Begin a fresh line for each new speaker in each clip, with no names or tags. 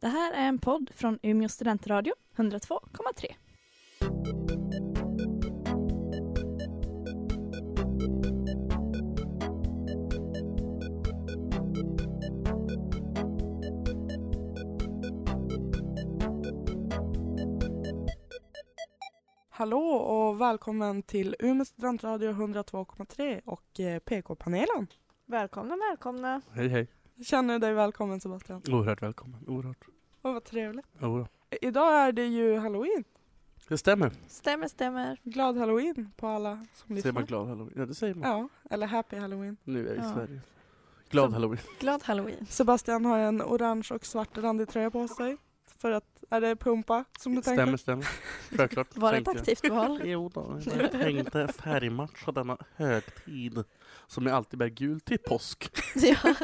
Det här är en podd från Umeå studentradio, 102,3.
Hallå och välkommen till Umeå studentradio 102,3 och eh, PK-panelen.
Välkomna, välkomna.
Hej hej.
Känner dig välkommen Sebastian.
Oerhört välkommen. Oerhört.
Åh vad trevligt.
Oerhört.
I- Idag är det ju halloween.
Det stämmer.
Stämmer, stämmer.
Glad halloween på alla som
Säger
lyssnar.
man glad halloween? Ja det säger man.
Ja, eller happy halloween.
Nu är vi i
Ja.
Sverige. Glad
Så-
halloween.
Glad halloween.
Sebastian har en orange och svart randig tröja på sig. För att, är det pumpa som du
Stämmer,
tänker?
stämmer. Självklart.
Var det ett
tänkte jag.
aktivt val?
Jo då, jag tänkte färgmatcha denna högtid som jag alltid bär gult till påsk.
ja.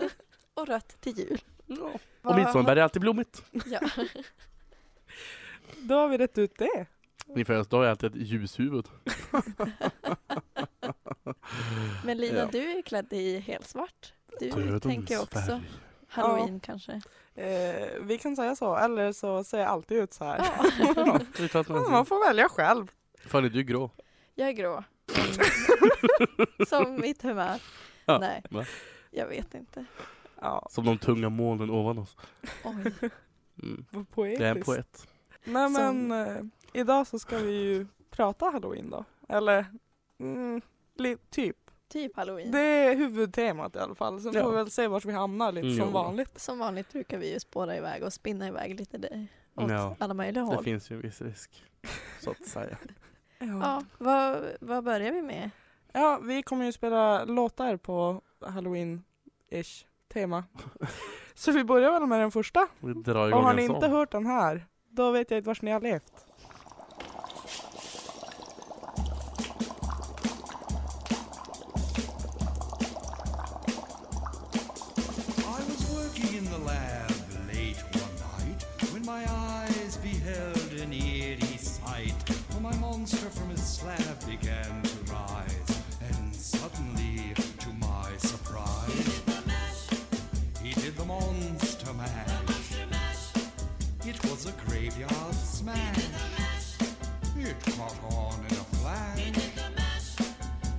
Och rött till jul.
Ja.
Vad-
Och midsommar är alltid blommigt.
Ja.
Då har vi rätt ut det.
Min födelsedag är alltid ett ljushuvud.
Men Lina,
Ja.
du är klädd i helsvart. Du
Dödens
tänker också
färg.
halloween kanske.
Eh, vi kan säga så, eller så ser jag alltid ut så här.
Ja.
Ja, det är klart man
Men Man får välja själv.
Fan är du grå?
Jag är grå. Som mitt humör.
Ja,
Nej,
va?
jag vet inte.
Ja,
Som de tunga molnen ovan oss.
Oj.
Mm.
vad poetiskt.
Det är en poet.
Nej
Som-
men eh, idag så ska vi ju prata halloween då. Eller mm, li- typ.
Typ halloween.
Det är huvudtemat i alla fall. Sen
Ja.
får vi väl se vart vi hamnar lite
Mm,
som
jo.
vanligt.
Som vanligt brukar vi ju spåra iväg och spinna iväg lite där åt
Ja.
alla möjliga
Det
håll.
finns ju en viss risk. Så att säga.
Ja, vad, vad börjar vi med?
Ja, vi kommer ju spela låtar på halloween-ish tema. så vi börjar väl med den första.
Vi drar
Och
igång
har
en
ni inte
sång.
hört den här, då vet jag inte vart ni har levt.
I was working in the lab late one night when my eyes beheld an eerie sight. For my monster from his slab began to rise, and suddenly, to my surprise, he did the monster mash. It was a graveyard smash. It caught on in a flash.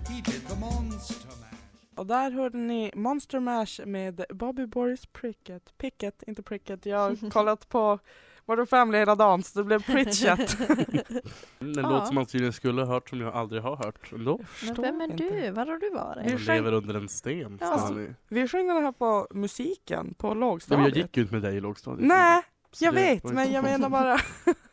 He did the monster mash.
Och där hörde ni Monster Mash med Bobby Boris Pricket. Picket, inte Pricket. Jag har kollat på Modern Family hela dagen så det blev Pritchett.
Mm, En
Ja.
låt som man tydligen skulle ha hört som jag aldrig har hört ändå.
Men vem är du? Var har du varit?
Vi
Jag
sjöng-
lever under en sten.
Ja.
Ja. Nej,
Vi sjöng den här på musiken på
men
lågstadiet.
jag gick ju inte med dig i lågstadiet.
Nej,
Så
jag
det
vet
var ju
men
så
jag
konstigt.
menar bara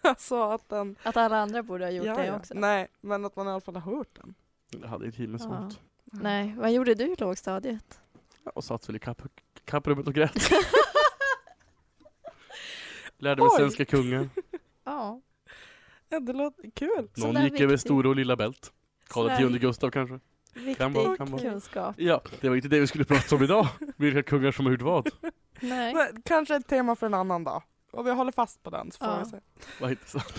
alltså att den...
Att alla andra borde ha gjort
Ja,
det
ja.
också.
Nej, men att man i alla fall har hört den.
Jag hade ett himmelskt
Ja.
ont.
Nej, vad gjorde du i lågstadiet?
Och satt väl i kapp, kapprummet och grät. Lärde mig
Oj.
svenska kungen.
Ja,
Ja, det låter kul.
Sån
Någon
där
gick över
viktig-
stora och lilla bält. Karl
sån
X
där
tionde Gustav kanske.
viktig
Kan vara, kan vara.
kunskap.
Ja, det var inte det vi skulle prata om idag. Vilka kungar som har gjort vad.
Nej.
Men, kanske ett tema för en annan dag. Och vi håller fast på den så får
Ja.
vi se.
Vad intressant.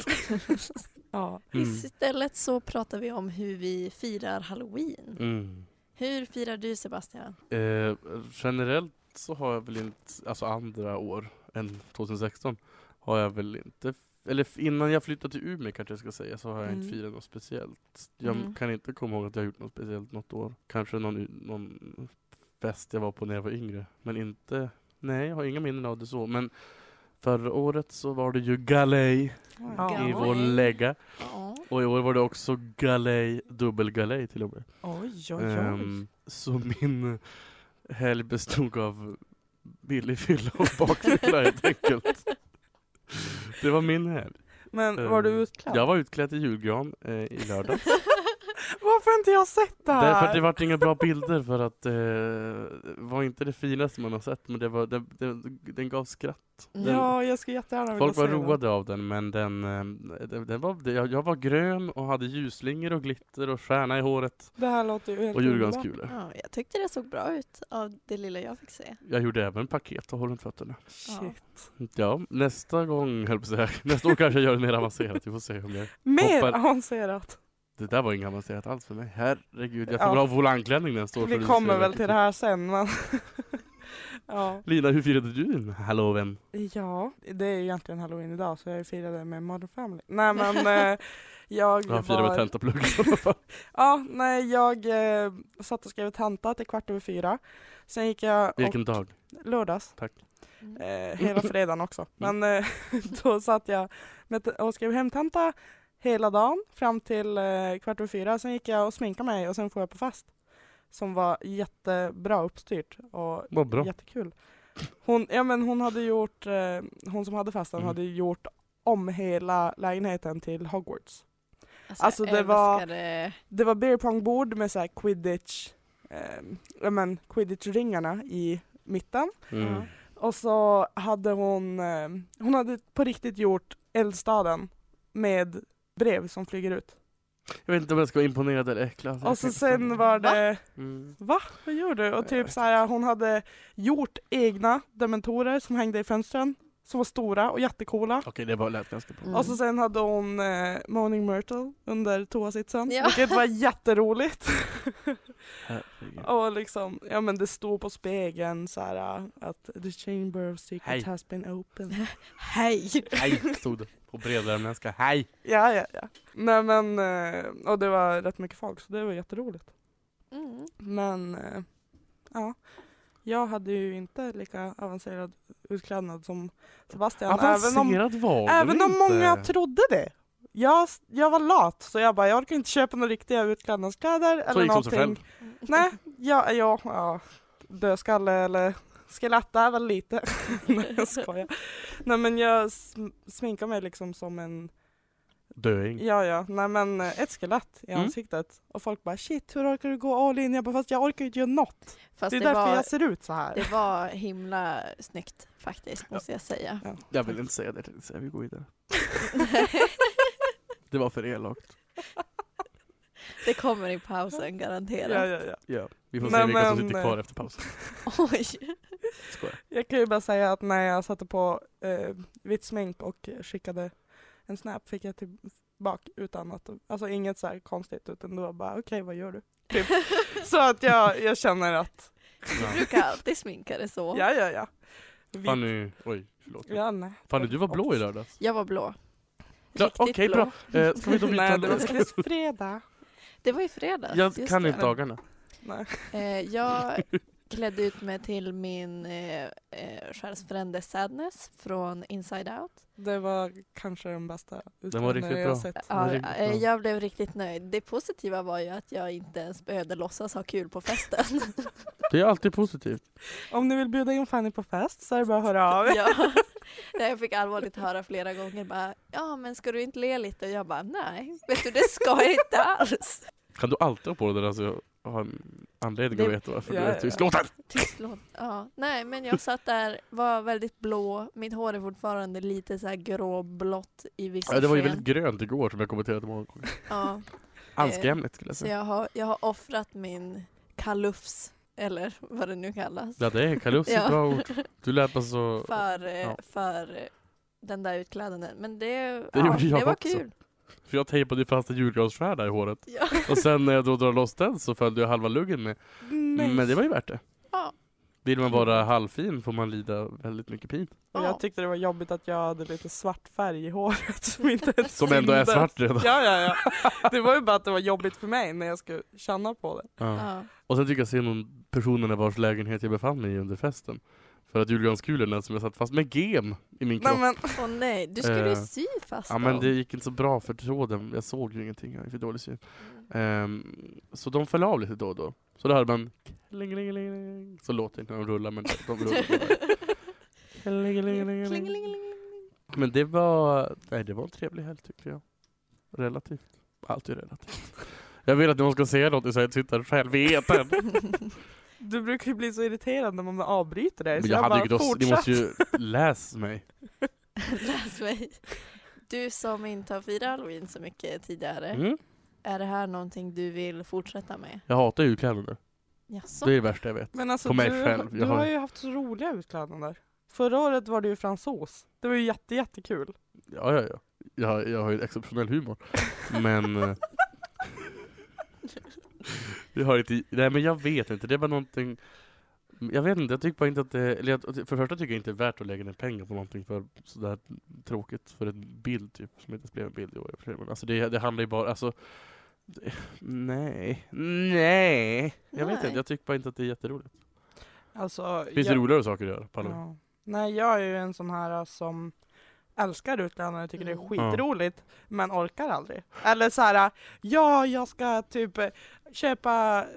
Ja.
Mm.
Istället så pratar vi om hur vi firar halloween.
Mm.
Hur firar du Sebastian?
Eh, generellt så har jag väl inte, alltså andra år än 2016 har jag väl inte, eller f- innan jag flyttade till Umeå kanske jag ska säga, så har jag inte
Mm.
firat något speciellt. Jag
Mm.
kan inte komma ihåg att jag har gjort något speciellt något år. Kanske någon, u- någon fest jag var på när jag var yngre, men inte, nej jag har inga minnen av det så, men förra året så var det ju galej i
Galej.
vår lägga
Ja.
och i år var det också galej, dubbelgalej till och med.
Oj, oj, oj.
Ehm, så min helg bestod av billig fylla och bakfylla helt enkelt. Det var min helg.
men var du
Ehm,
utklädd?
Jag var utklädd till julgran eh, i lördag.
Varför har inte jag sett det här?
Därför att det vart inga bra bilder för att eh, var inte det finaste man har sett men det var, det, det, den gav skratt.
Mm.
Ja, jag skulle jättegärna vilja
Folk var
se den.
roade av den men den, eh, den, den var, det- jag, jag var grön och hade ljusslingor och glitter och stjärna i håret
Det här låter ju helt
och
underbart.
julgranskulor.
Ja, jag tyckte det såg bra ut av det lilla jag fick se.
Jag gjorde även paket och håll runt fötterna.
Shit.
Ja, nästa gång höll jag på att säga. Nästa år kanske jag gör det mer avancerat. Vi får se om jag...
Mer
Hoppar-
avancerat.
Det där var inget avancerat alls för mig. Herregud, jag får
Ja.
väl ha volangklänning nästa år. för typ.
Vi
att
kommer
se
väl
det.
till det här sen men Ja.
Lina, hur firade du din halloween?
ja, det är ju egentligen halloween idag så jag firade med Modern Family. Nej men eh, jag
Jag firade med
var...
tentaplugg.
Ja, nej jag eh, satt och skrev tenta till kvart över fyra. Sen gick jag och
Vilken dag?
lördags.
Tack. Mm.
Eh, hela fredagen också. Men eh, då satt jag med t- och skrev hemtenta hela dagen fram till eh, kvart över fyra. Sen gick jag och sminkade mig och sen får jag på fest. Som var jättebra uppstyrt och
Vad bra.
jättekul. Hon, ja, men hon hade gjort, eh, hon som hade festen
Mm.
hade gjort om hela lägenheten till Hogwarts.
Alltså,
Alltså,
jag
det var-
älskade-
Det var beer pong bord med så här quidditch, eh, ja, men quidditch-ringarna i mitten.
Mm.
Ja.
Och så hade hon, eh, hon hade på riktigt gjort eldstaden med brev som flyger ut.
Jag vet inte om jag ska vara imponerad eller äcklad.
Och så sen var det,
Mm.
va? Vad gör du?
Jag
Och
vet
typ så här, hon hade gjort egna dementorer som hängde i fönstren, som var stora och jättecoola.
Okej, det var lät ganska bra.
Mm.
Och så sen hade hon eh, Moaning Myrtle under toasitsen,
Ja.
vilket var jätteroligt.
Herregud.
och liksom, ja men det stod på spegeln så här eh, att the chamber of secrets
Hej.
has been opened.
Hej!
Hej, stod det på brevlärarmänniska. Hej!
Ja, ja, ja. Nej men, eh, och det var rätt mycket folk så det var jätteroligt.
Mm.
Men, eh, ja. Jag hade ju inte lika avancerad utklädnad som Sebastian. Även om,
Avancerad var du
även om
inte.
många trodde det. Jag, jag var lat så jag bara, jag orkar inte köpa några riktiga utklädnadskläder
Så
eller
gick det av sig
någonting.
själv.
Nej, ja, ja, ja. Dödskalle eller skelett är väl lite. Nej jag skojar. Nej men jag sm- sminkar mig liksom som en
Döing.
Ja, ja. Nej, men eh, ett skelett i
Mm.
ansiktet. Och folk bara shit, hur orkar du gå all in? Jag bara fast jag orkar ju inte göra något.
Fast
det är
det,
därför
var,
jag ser ut så här.
det var himla snyggt faktiskt, måste jag säga.
Ja.
Jag vill inte säga det, jag tänkte säga vi går vidare. Det var för elakt.
det kommer i pausen garanterat.
Ja, ja, ja.
Ja. Vi får
Nej,
se vilka som
men, eh,
sitter kvar efter pausen.
Oj!
Skojar.
Jag kan ju bara säga att när jag satte på eh, vitt smink och skickade en snap fick jag tillbaka utan att, alltså inget så här konstigt utan det var bara okej vad gör du? Typ. Så att jag, jag känner att
Du
Ja.
brukar alltid sminka dig så.
ja, ja, ja. Vi-
Fanny, oj, förlåt.
Ja, nej.
Fanny, du var blå i lördags.
Jag var blå.
Ja,
Riktigt
okej,
blå.
bra. Eh, ska vi då byta?
Nej, det var faktiskt fredag.
Det var i fredags.
jag
just
kan
det.
inte dagarna.
Nej.
Eh, jag klädde ut mig till min eh, eh, själsfrände Sadness från Inside Out.
Det var kanske den bästa
var riktigt
jag
bra.
sett.
Ja,
riktigt bra.
eh, jag blev riktigt nöjd. Det positiva var ju att jag inte ens behövde låtsas ha kul på festen.
Det är alltid positivt.
Om ni vill bjuda in Fanny på fest så är det bara att höra av er.
ja. Nej, Jag fick allvarligt höra flera gånger bara, ja men ska du inte le lite? Och jag bara, nej, vet du det ska jag inte alls.
Kan du alltid ha på dig det där så jag har en anledning att
Det-
veta varför
Ja,
du är
ja.
tystlåten?
Tystlåt. Ja. Nej, men jag satt där, var väldigt blå. Mitt hår är fortfarande lite så här gråblått i vissa
Ja, det var ju
sken.
väldigt grönt igår som jag kommenterade många gånger.
Ja,
Eh,
Anskrämligt skulle jag
så
säga.
jag har, jag har offrat min kalufs, eller vad det nu kallas,
Ja det är kalufs,
Ja.
bra ord. Du lät bara så...
för, eh,
Ja.
för eh, den där utklädnaden. Men det,
Det
ja,
gjorde jag
det var
också.
kul.
För jag tejpade ju fast en julgransskärda i håret.
Ja.
Och sen när jag då drar loss den så följde jag halva luggen med.
Nej.
Men det var ju värt det.
Ja.
Vill man vara halvfin får man lida väldigt mycket pin.
Och
Ja.
jag tyckte det var jobbigt att jag hade lite svart färg i håret som inte ens
Som ändå är
syntes.
svart redan.
Ja, ja, ja. Det var ju bara att det var jobbigt för mig när jag skulle känna på det.
Ja.
Ja.
Och sen tycker jag synd om personerna vars lägenhet jag befann mig i under festen. För att julgranskulorna som jag satt fast med gem i min kropp.
Nej, men,
Åh nej, du skulle ju
Eh,
sy fast
Ja men
dem.
det gick inte så bra för tråden, jag såg ju ingenting, jag är för dålig syn. Ehm, så de föll av lite då och då. Så då hörde man klingelingeling. Så låter det inte när de rullar men de rullar bara. Klingelingeling.
Klingelingeling.
Men det var, nej det var en trevlig helg tyckte jag. Relativt. Allt är relativt. Jag vill att någon ska säga något så jag inte sitter själv i etern.
du brukar ju bli så irriterad när man avbryter dig.
Men
Så
jag
jag,
hade ju
bara,
då, ni
fortsätt.
måste ju läs mig.
Läs mig. Du som inte har firat halloween så mycket tidigare,
Mm?
är det här någonting du vill fortsätta med?
Jag hatar julkläder.
Jaså?
Det är det värsta jag vet.
Men alltså,
på mig
du,
själv.
du
Jag har-
har ju haft så roliga utklädnader. Förra året var du ju fransos. Det var ju jätte, jättekul.
Ja, ja, ja. Jag, jag har ju exceptionell humor. Men... eh, jag har inte... Nej men jag vet inte, det var någonting... Jag vet inte, jag tycker bara inte att det, eller jag, för det första tycker jag inte det är värt att lägga ner pengar på någonting för sådär tråkigt, för en bild typ, som inte ens blev en bild i år. i och för sig. Men Alltså det, det handlar ju bara, alltså det, nej, nej. Jag vet
Nej.
inte, jag tycker bara inte att det är jätteroligt.
Alltså,
Finns det roligare saker att göra på Halloween?
Ja. Nej, jag är ju en sån här eh, som älskar utlandet och tycker det är
Mm.
skitroligt men orkar aldrig. Eller så här, eh, ja jag ska typ eh, köpa äh,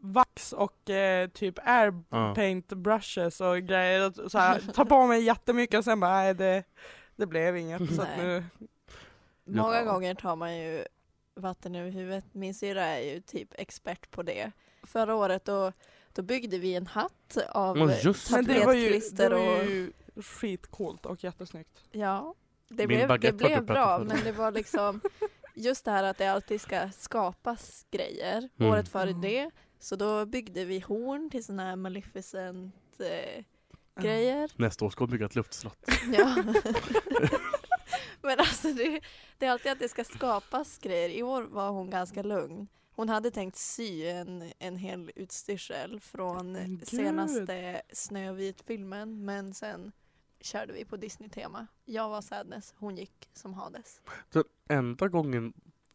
vax och eh, typ
Ja.
airpaint brushes och grejer. Och så här, ta på mig jättemycket och sen bara nej det, det blev inget. Så att
Nej.
nu,
Många
Ja.
gånger tar man ju vatten över huvudet. Min syrra är ju typ expert på det. Förra året då, då byggde vi en hatt av
Ja, just
men det var ju, det
tapetklister
var
och...
ju skitcoolt och jättesnyggt.
Ja, det
Min
blev, det
baguette var
blev
typ
bra
bättre förr.
men det var liksom just det här att det alltid ska skapas grejer.
Mm.
Året före
Mm.
det så då byggde vi horn till sådana här Maleficent eh,
Ja.
grejer.
Nästa år ska vi bygga ett luftslott.
Ja. Men alltså det, det är alltid att det ska skapas grejer. I år var hon ganska lugn. Hon hade tänkt sy en, en hel utstyrsel från
Men gud.
senaste Snövit-filmen men sen körde vi på Disney-tema. Jag var sadness, hon gick som Hades.
Den enda gången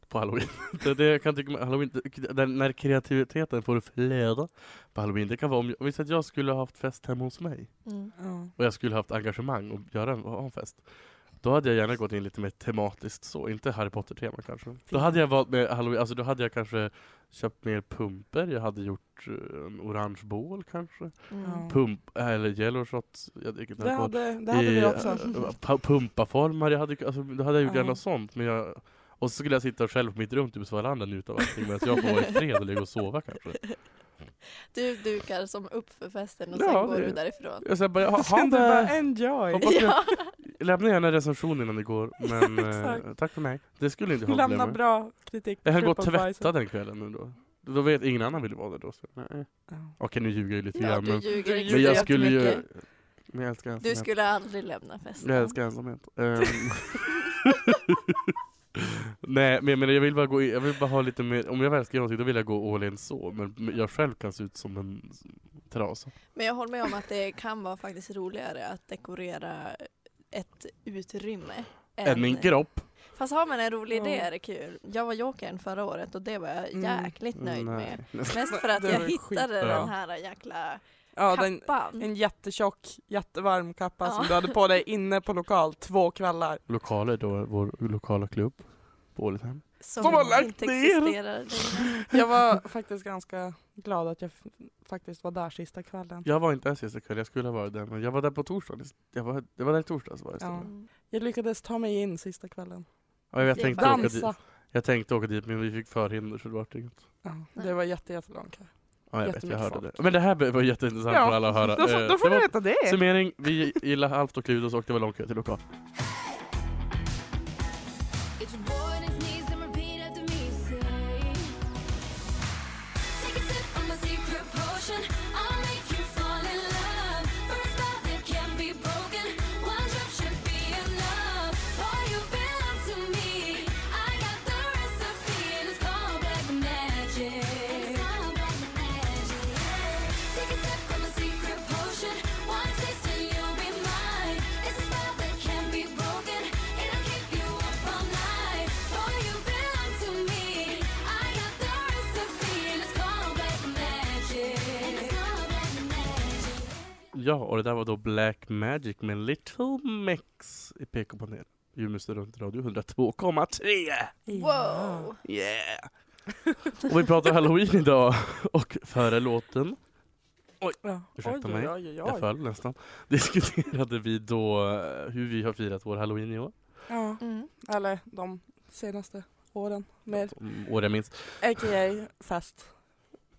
på halloween, det, det jag kan tycka med halloween, det- den, när kreativiteten får flöda på halloween, det kan vara om, om vi säger att jag skulle ha haft fest hemma hos mig.
Mm,
Ja.
och jag skulle haft engagemang och göra en, ha en fest. Då hade jag gärna gått in lite mer tematiskt så, inte Harry Potter-tema kanske. Då hade jag valt med halloween, alltså då hade jag kanske köpt mer pumper, jag hade gjort eh, en orange bål kanske.
Mm.
Ja.
Pump, eller yellow shots, jag dricker inte
Det
alkohol.
hade, det hade
I,
vi också.
eh, pa- Pumpaformar, jag hade, alltså, då hade jag gjort
Mm. Ja.
gärna sånt. Men jag, och så skulle jag sitta själv på mitt rum typ så varandra njuta av allting medan jag får vara i fred och ligga och sova kanske.
Du dukar som upp för festen och
Ja,
sen går
det-
du därifrån.
Jag säger bara, "Ja, ha
Sen du bara
det!
enjoy.
Hoppas
Ja.
Lämna gärna recension innan det går, men eh,
Exakt.
tack för mig. Det skulle inte jag ha problem
Lämna
med.
bra kritik.
Jag kan gå och
Tripadvisor.
tvätta den kvällen nu då. Då vet ingen annan vill vara där då. Så, nej.
Ja.
Okej nu ljuger jag lite
Ja,
grann
du
men,
ljuger
men
men
extremt
jag skulle ju...
mycket.
Men jag älskar
Du
ensamhet.
skulle aldrig lämna festen.
Jag älskar ensamhet. Ehm. Nej men jag menar, jag vill bara gå i, jag vill bara ha lite mer, om jag väl ska göra någonting då vill jag gå all in så. Men men jag själv kan se ut som en trasa.
Men jag håller med om att det kan vara faktiskt roligare att dekorera ett utrymme.
Än min kropp.
Fast har man en rolig idé
Ja.
är det kul. Jag var jokern förra året och det var jag
Mm.
jäkligt nöjd med.
Nej.
Mest för att
Det
jag
var
hittade
skitbra.
den här jäkla
Ja, den,
kappan.
en jättetjock, jättevarm kappa
Ja.
som du hade på dig inne på lokal två kvällar.
Lokaler då, vår lokala klubb. På Ålidhem.
som
som har lagt
inte
ner.
existerar längre.
Jag var faktiskt ganska glad att jag f- faktiskt var där sista kvällen.
Jag var inte där sista kvällen, jag skulle ha varit där men jag var där på torsdagen. Jag var, jag var där i torsdags var jag
Ja.
istället.
Mm.
Jag lyckades ta mig in sista kvällen.
Ja, jag,
Det
tänkte
var-
åka dit,
Dansa.
jag tänkte åka dit men vi fick förhinder så det vart inget.
Ja, det var jätte, jättelång kö.
Ja, jag vet, jag
Jättemycket
hörde
folk.
det. Men det här var jätteintressant
Ja,
för alla att höra.
Då, får-
Eh,
då får
det
du
var-
veta det!
Summering, vi gillar halvt och Cluedos och det var lång kö till lokal.
Get your boy on his knees and repeat after me. Say, take a sip of my secret potion. I'll make you fall in love. For a spell that can't be broken. One drop should be enough. Boy, you belong to me. I got the recipe and it's called black magic. It's called black magic. Take a sip of my secret potion. One taste and you'll be mine. It's a spell that can't be broken. It'll keep you up all night. Boy, you belong to me. I got the recipe and it's called black magic. It's called black magic.
Ja, och det där var då Black Magic med Little Mix i PK Panel. Julmuster runt radio 102,3!
Wow!
Yeah! Och vi pratar halloween idag och före låten,
Ja.
Ursäkta
Oj,
mig.
oj, oj,
jag
oj.
föll nästan, diskuterade vi då eh, hur vi har firat vår halloween i år.
Ja,
Mm.
eller de senaste åren. Mer.
Om År jag minns.
A.k.a. fest.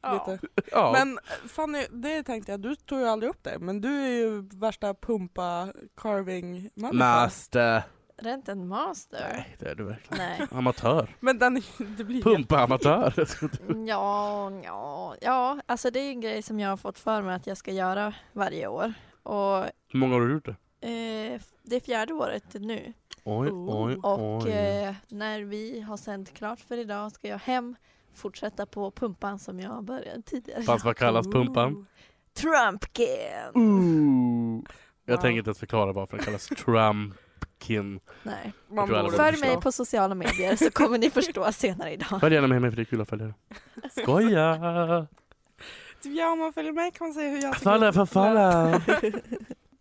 Ja.
Lite.
Ja,
Men eh, Fanny, det tänkte jag, du tog ju aldrig upp det, men du är ju värsta pumpa carving
master!
Det är inte en master.
Nej, det är du verkligen.
Nej.
Amatör.
Men den, det blir
Pumpa-amatör.
Ja, ja, ja, alltså det är en grej som jag har fått för mig att jag ska göra varje år. Och
Hur många år har du gjort det?
eh, f- det är fjärde året nu.
Oj,
Oh.
oj,
Och
oj.
eh, när vi har sänt klart för idag ska jag hem fortsätta på pumpan som jag började tidigare.
Fast vad kallas pumpan?
Trumpkin!
Mm. Ooh. Jag
Wow.
tänker inte ens förklara varför den kallas Trumpkin.
Nej.
Man
tror
borde
alla borde
Följ
förstå.
mig på sociala medier så kommer ni förstå senare idag.
Följ gärna med mig för det är kul att följa dig. Skoja!
Typ, ja, om man följer mig kan man se hur jag tycker
Falla
att-
för falla!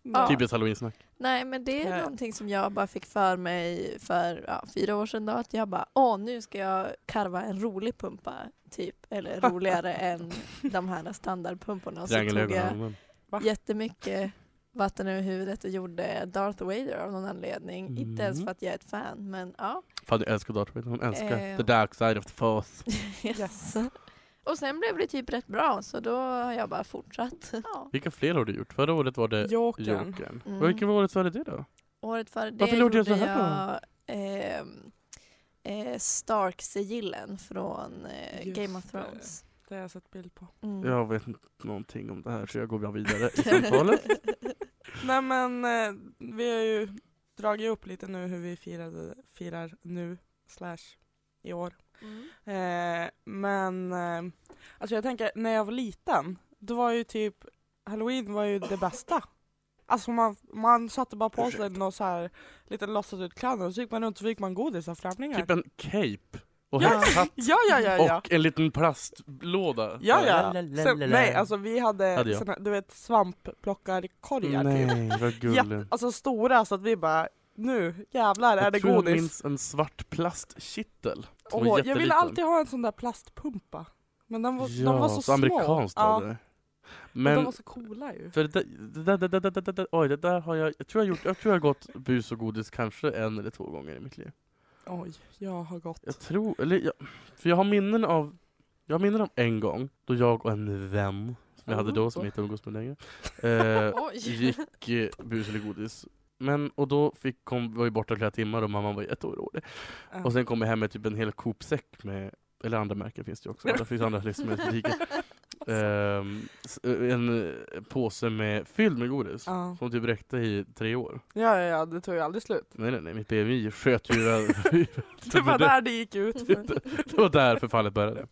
Ja.
Typiskt halloweensnack.
Nej men det är
Nej.
någonting som jag bara fick för mig för ja, fyra år sedan då, att jag bara åh nu ska jag karva en rolig pumpa typ, eller roligare än de här standardpumporna. Och så tog jag
Triangelögonen.
Va?
jättemycket vatten över huvudet och gjorde Darth Vader av någon anledning. Inte ens
Mm.
för att jag är ett fan men ja.
Fan jag älskar Darth Vader, hon älskar
Eh.
the dark side of the force.
Yes. Och sen blev det typ rätt bra så då har jag bara fortsatt. Ja.
Vilka fler har du gjort? Förra året var det
Jokern. Mm.
Jokern.
Mm.
Mm. Vilket året var det det då?
Året före det
Varför gjorde
gjorde
jag
jag,
så här
ehm, eh, Stark-sigillen från eh,
Just
Game of
det.
Thrones.
Det har jag sett bild på.
Mm.
Jag vet inte någonting om det här så jag går bara vidare i samtalet.
Nej men eh, vi har ju dragit upp lite nu hur vi firade, firar nu slash i år.
Mm.
Eh, men eh, alltså jag tänker när jag var liten, då var ju typ halloween var ju det bästa. Alltså man, man satte bara på sig någon så här liten låtsasutklädnad och så gick man runt och så fick man godis av främlingar.
typ en cape och
Ja.
häxhatt
Ja ja ja ja!
och en liten plastlåda.
Ja, ja. Sen, nej alltså vi
Hade
hade
jag.
såna, du vet svampplockarkorgar typ.
Nej vad gulligt.
Alltså stora så att vi bara nu jävlar är
Jag
det
tror jag
godis.
minns en svart plastkittel. som
Åh,
var
jag ville
jätteliten.
alltid ha en sån där plastpumpa. Men den var,
Ja,
de var så,
så amerikanskt
små.
var
ja,
det.
men
Men
de var så coola ju.
För det där, det där, det där, det där, det där, oj, det där har jag, jag tror jag gjort, jag tror jag har gått bus och godis kanske en eller två gånger i mitt liv.
Oj, jag har gått.
Jag tror, eller jag, för jag har minnen av, jag har minnen av en gång då jag och en vän som jag
Mm,
hade då, som jag inte umgås med längre, eh,
Oj!
gick eh, bus eller godis. Men, och då fick, kom, var vi borta flera timmar och mamman var jätteorolig.
Ja.
Och sen kom jag hem med typ en hel Coop-säck med, eller andra märken finns det ju också, det finns andra livsmedelsbutiker.
Alltså.
Ehm, s- en eh, påse med, fylld med godis.
ja.
Som typ räckte i tre år.
ja, ja, ja, det tog ju aldrig slut.
Nej nej nej, mitt BMI sköt ju iväg.
Det var
det-
där det gick ut.
det var där förfallet började.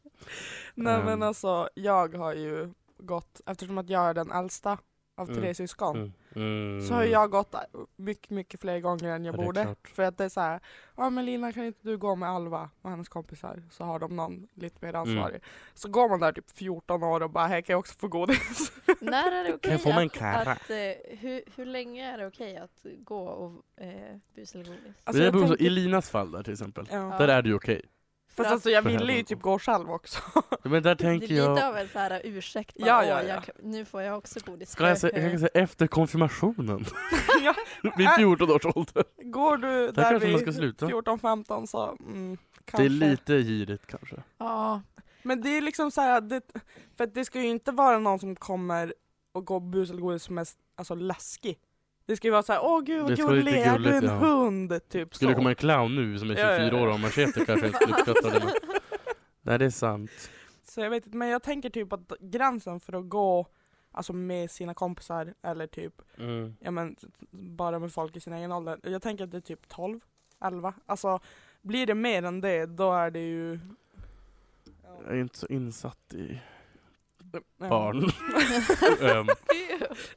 Nej
Ehm.
men alltså, jag har ju gått, eftersom att jag är den äldsta av tre
Mm.
syskon,
Mm. Mm.
så har jag gått mycket, mycket fler gånger än jag
Ja, det är
borde.
klart.
För att det är så här, ja men Lina kan inte du gå med Alva och hennes kompisar så har de någon lite
Mm.
mer ansvarig. Så går man där typ 14 år och bara, här kan jag också få godis.
När är det
Kan
okej
jag få mig en
att,
kara?
att eh, hur, hur länge är det okej att gå och eh, busa eller godis?
Alltså,
det där
jag
beror på,
tänker-
I Linas fall där till exempel,
Ja.
Ja.
där är det ju okej.
För
Fast
att
alltså jag
För
ville ju
helvete.
typ gå själv också.
Men där
det är
tänker
lite
jag,
av en så här eh, ursäkt, bara,
Ja,
"Åh,
ja, ja.
Jag, kan- nu får jag också godis.
ska jag säga, jag kan säga efter konfirmationen.
Ja. Ah.
Vid 14 års ålder.
Går du
Där
där
kanske man ska
vid
sluta.
14-15 så, mm,
Det
kanske.
är lite girigt kanske.
Ja,
Men det är liksom så här, det, för att det ska ju inte vara någon som kommer och går bus eller godis som är alltså, läskig. Det ska ju vara så här, åh gud
Det
vad
ska vara lite
gullig, är du
gulligt,
en
ja.
hund? Typ
Skulle det
så.
komma en clown nu som är
Ja, ja,
24
ja.
år och har machete kanske jag inte skulle uppskatta det. men- Nej det är sant.
Så jag vet inte, men jag tänker typ att gränsen för att gå alltså med sina kompisar eller typ
Mm.
ja, men, bara med folk i sin egen ålder. Jag tänker att det är typ 12, 11. Alltså blir det mer än det då är det ju...
Jag är inte så insatt i
Ja.
barn. Ehm,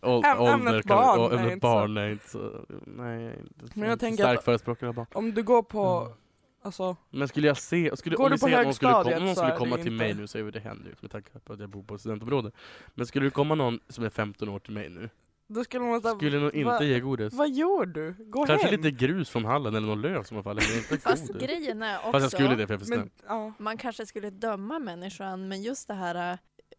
Ål-
Äm-
ålder
ämnet
kan-
barn
å-
är
ämnet
inte
barn är inte så... Nej, jag är inte,
Men jag
inte
tänker
stark
att-
förespråkare av barn.
Om du går på,
Mm.
alltså,
Men skulle jag se... Skulle,
Går
om
du
vi
på
ser att någon skulle, kom,
högstadiet
om någon
så
skulle
är
komma
det
till
inte-
mig nu, så är ju det händer ju med tanke på att jag bor på studentområde. Men skulle det komma någon som är 15 år till mig nu,
då skulle man säga,
skulle nog inte
Alltså, vad-
ge godis.
vad gör du? Gå
Kanske
hem!
lite grus från hallen eller någon löv som har fallit, men inte
fast
godis.
grejen är också...
Fast jag skulle det för jag är för snäll.
Men, ja.
man kanske skulle döma människan, men just det här, eh,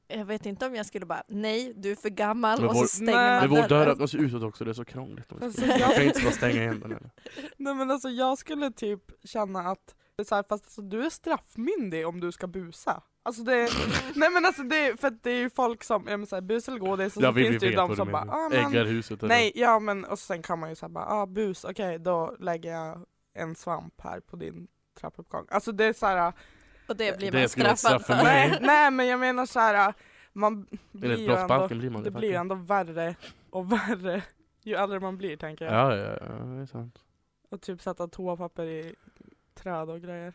jag vet inte om jag skulle bara, nej, du är för gammal,
Men
och
vår-
så stänger
Nej.
man
Men vår dörr
dörren.
öppnas ju utåt också, det är så krångligt.
Alltså,
jag...
jag-
kan inte bara stänga igen den. Eller.
Nej men alltså jag skulle typ känna att, det är så här, fast alltså, du är straffmyndig om du ska busa. Alltså det, nej men alltså det, för att det är ju folk som, ja men såhär bus eller godis och
Ja,
så
vi, vi
finns det ju
vet
de
vad du
som bara, ah,
menar.
men,
Äggarhuset. eller-
nej ja men, och sen kan man ju säga bara, ah bus, okej då lägger jag en svamp här på din trappuppgång. Alltså det är såhär,
Och det blir
Det
man
skulle vara ett
straffad
straff
för.
för mig.
nej, nej men jag menar såhär, man blir
Enligt
ju ändå,
brottsbalken blir man
det blir ju
faktiskt.
ändå värre och värre ju äldre man blir tänker jag.
Ja, ja, ja, det är sant.
Och typ sätta toapapper i träd och grejer.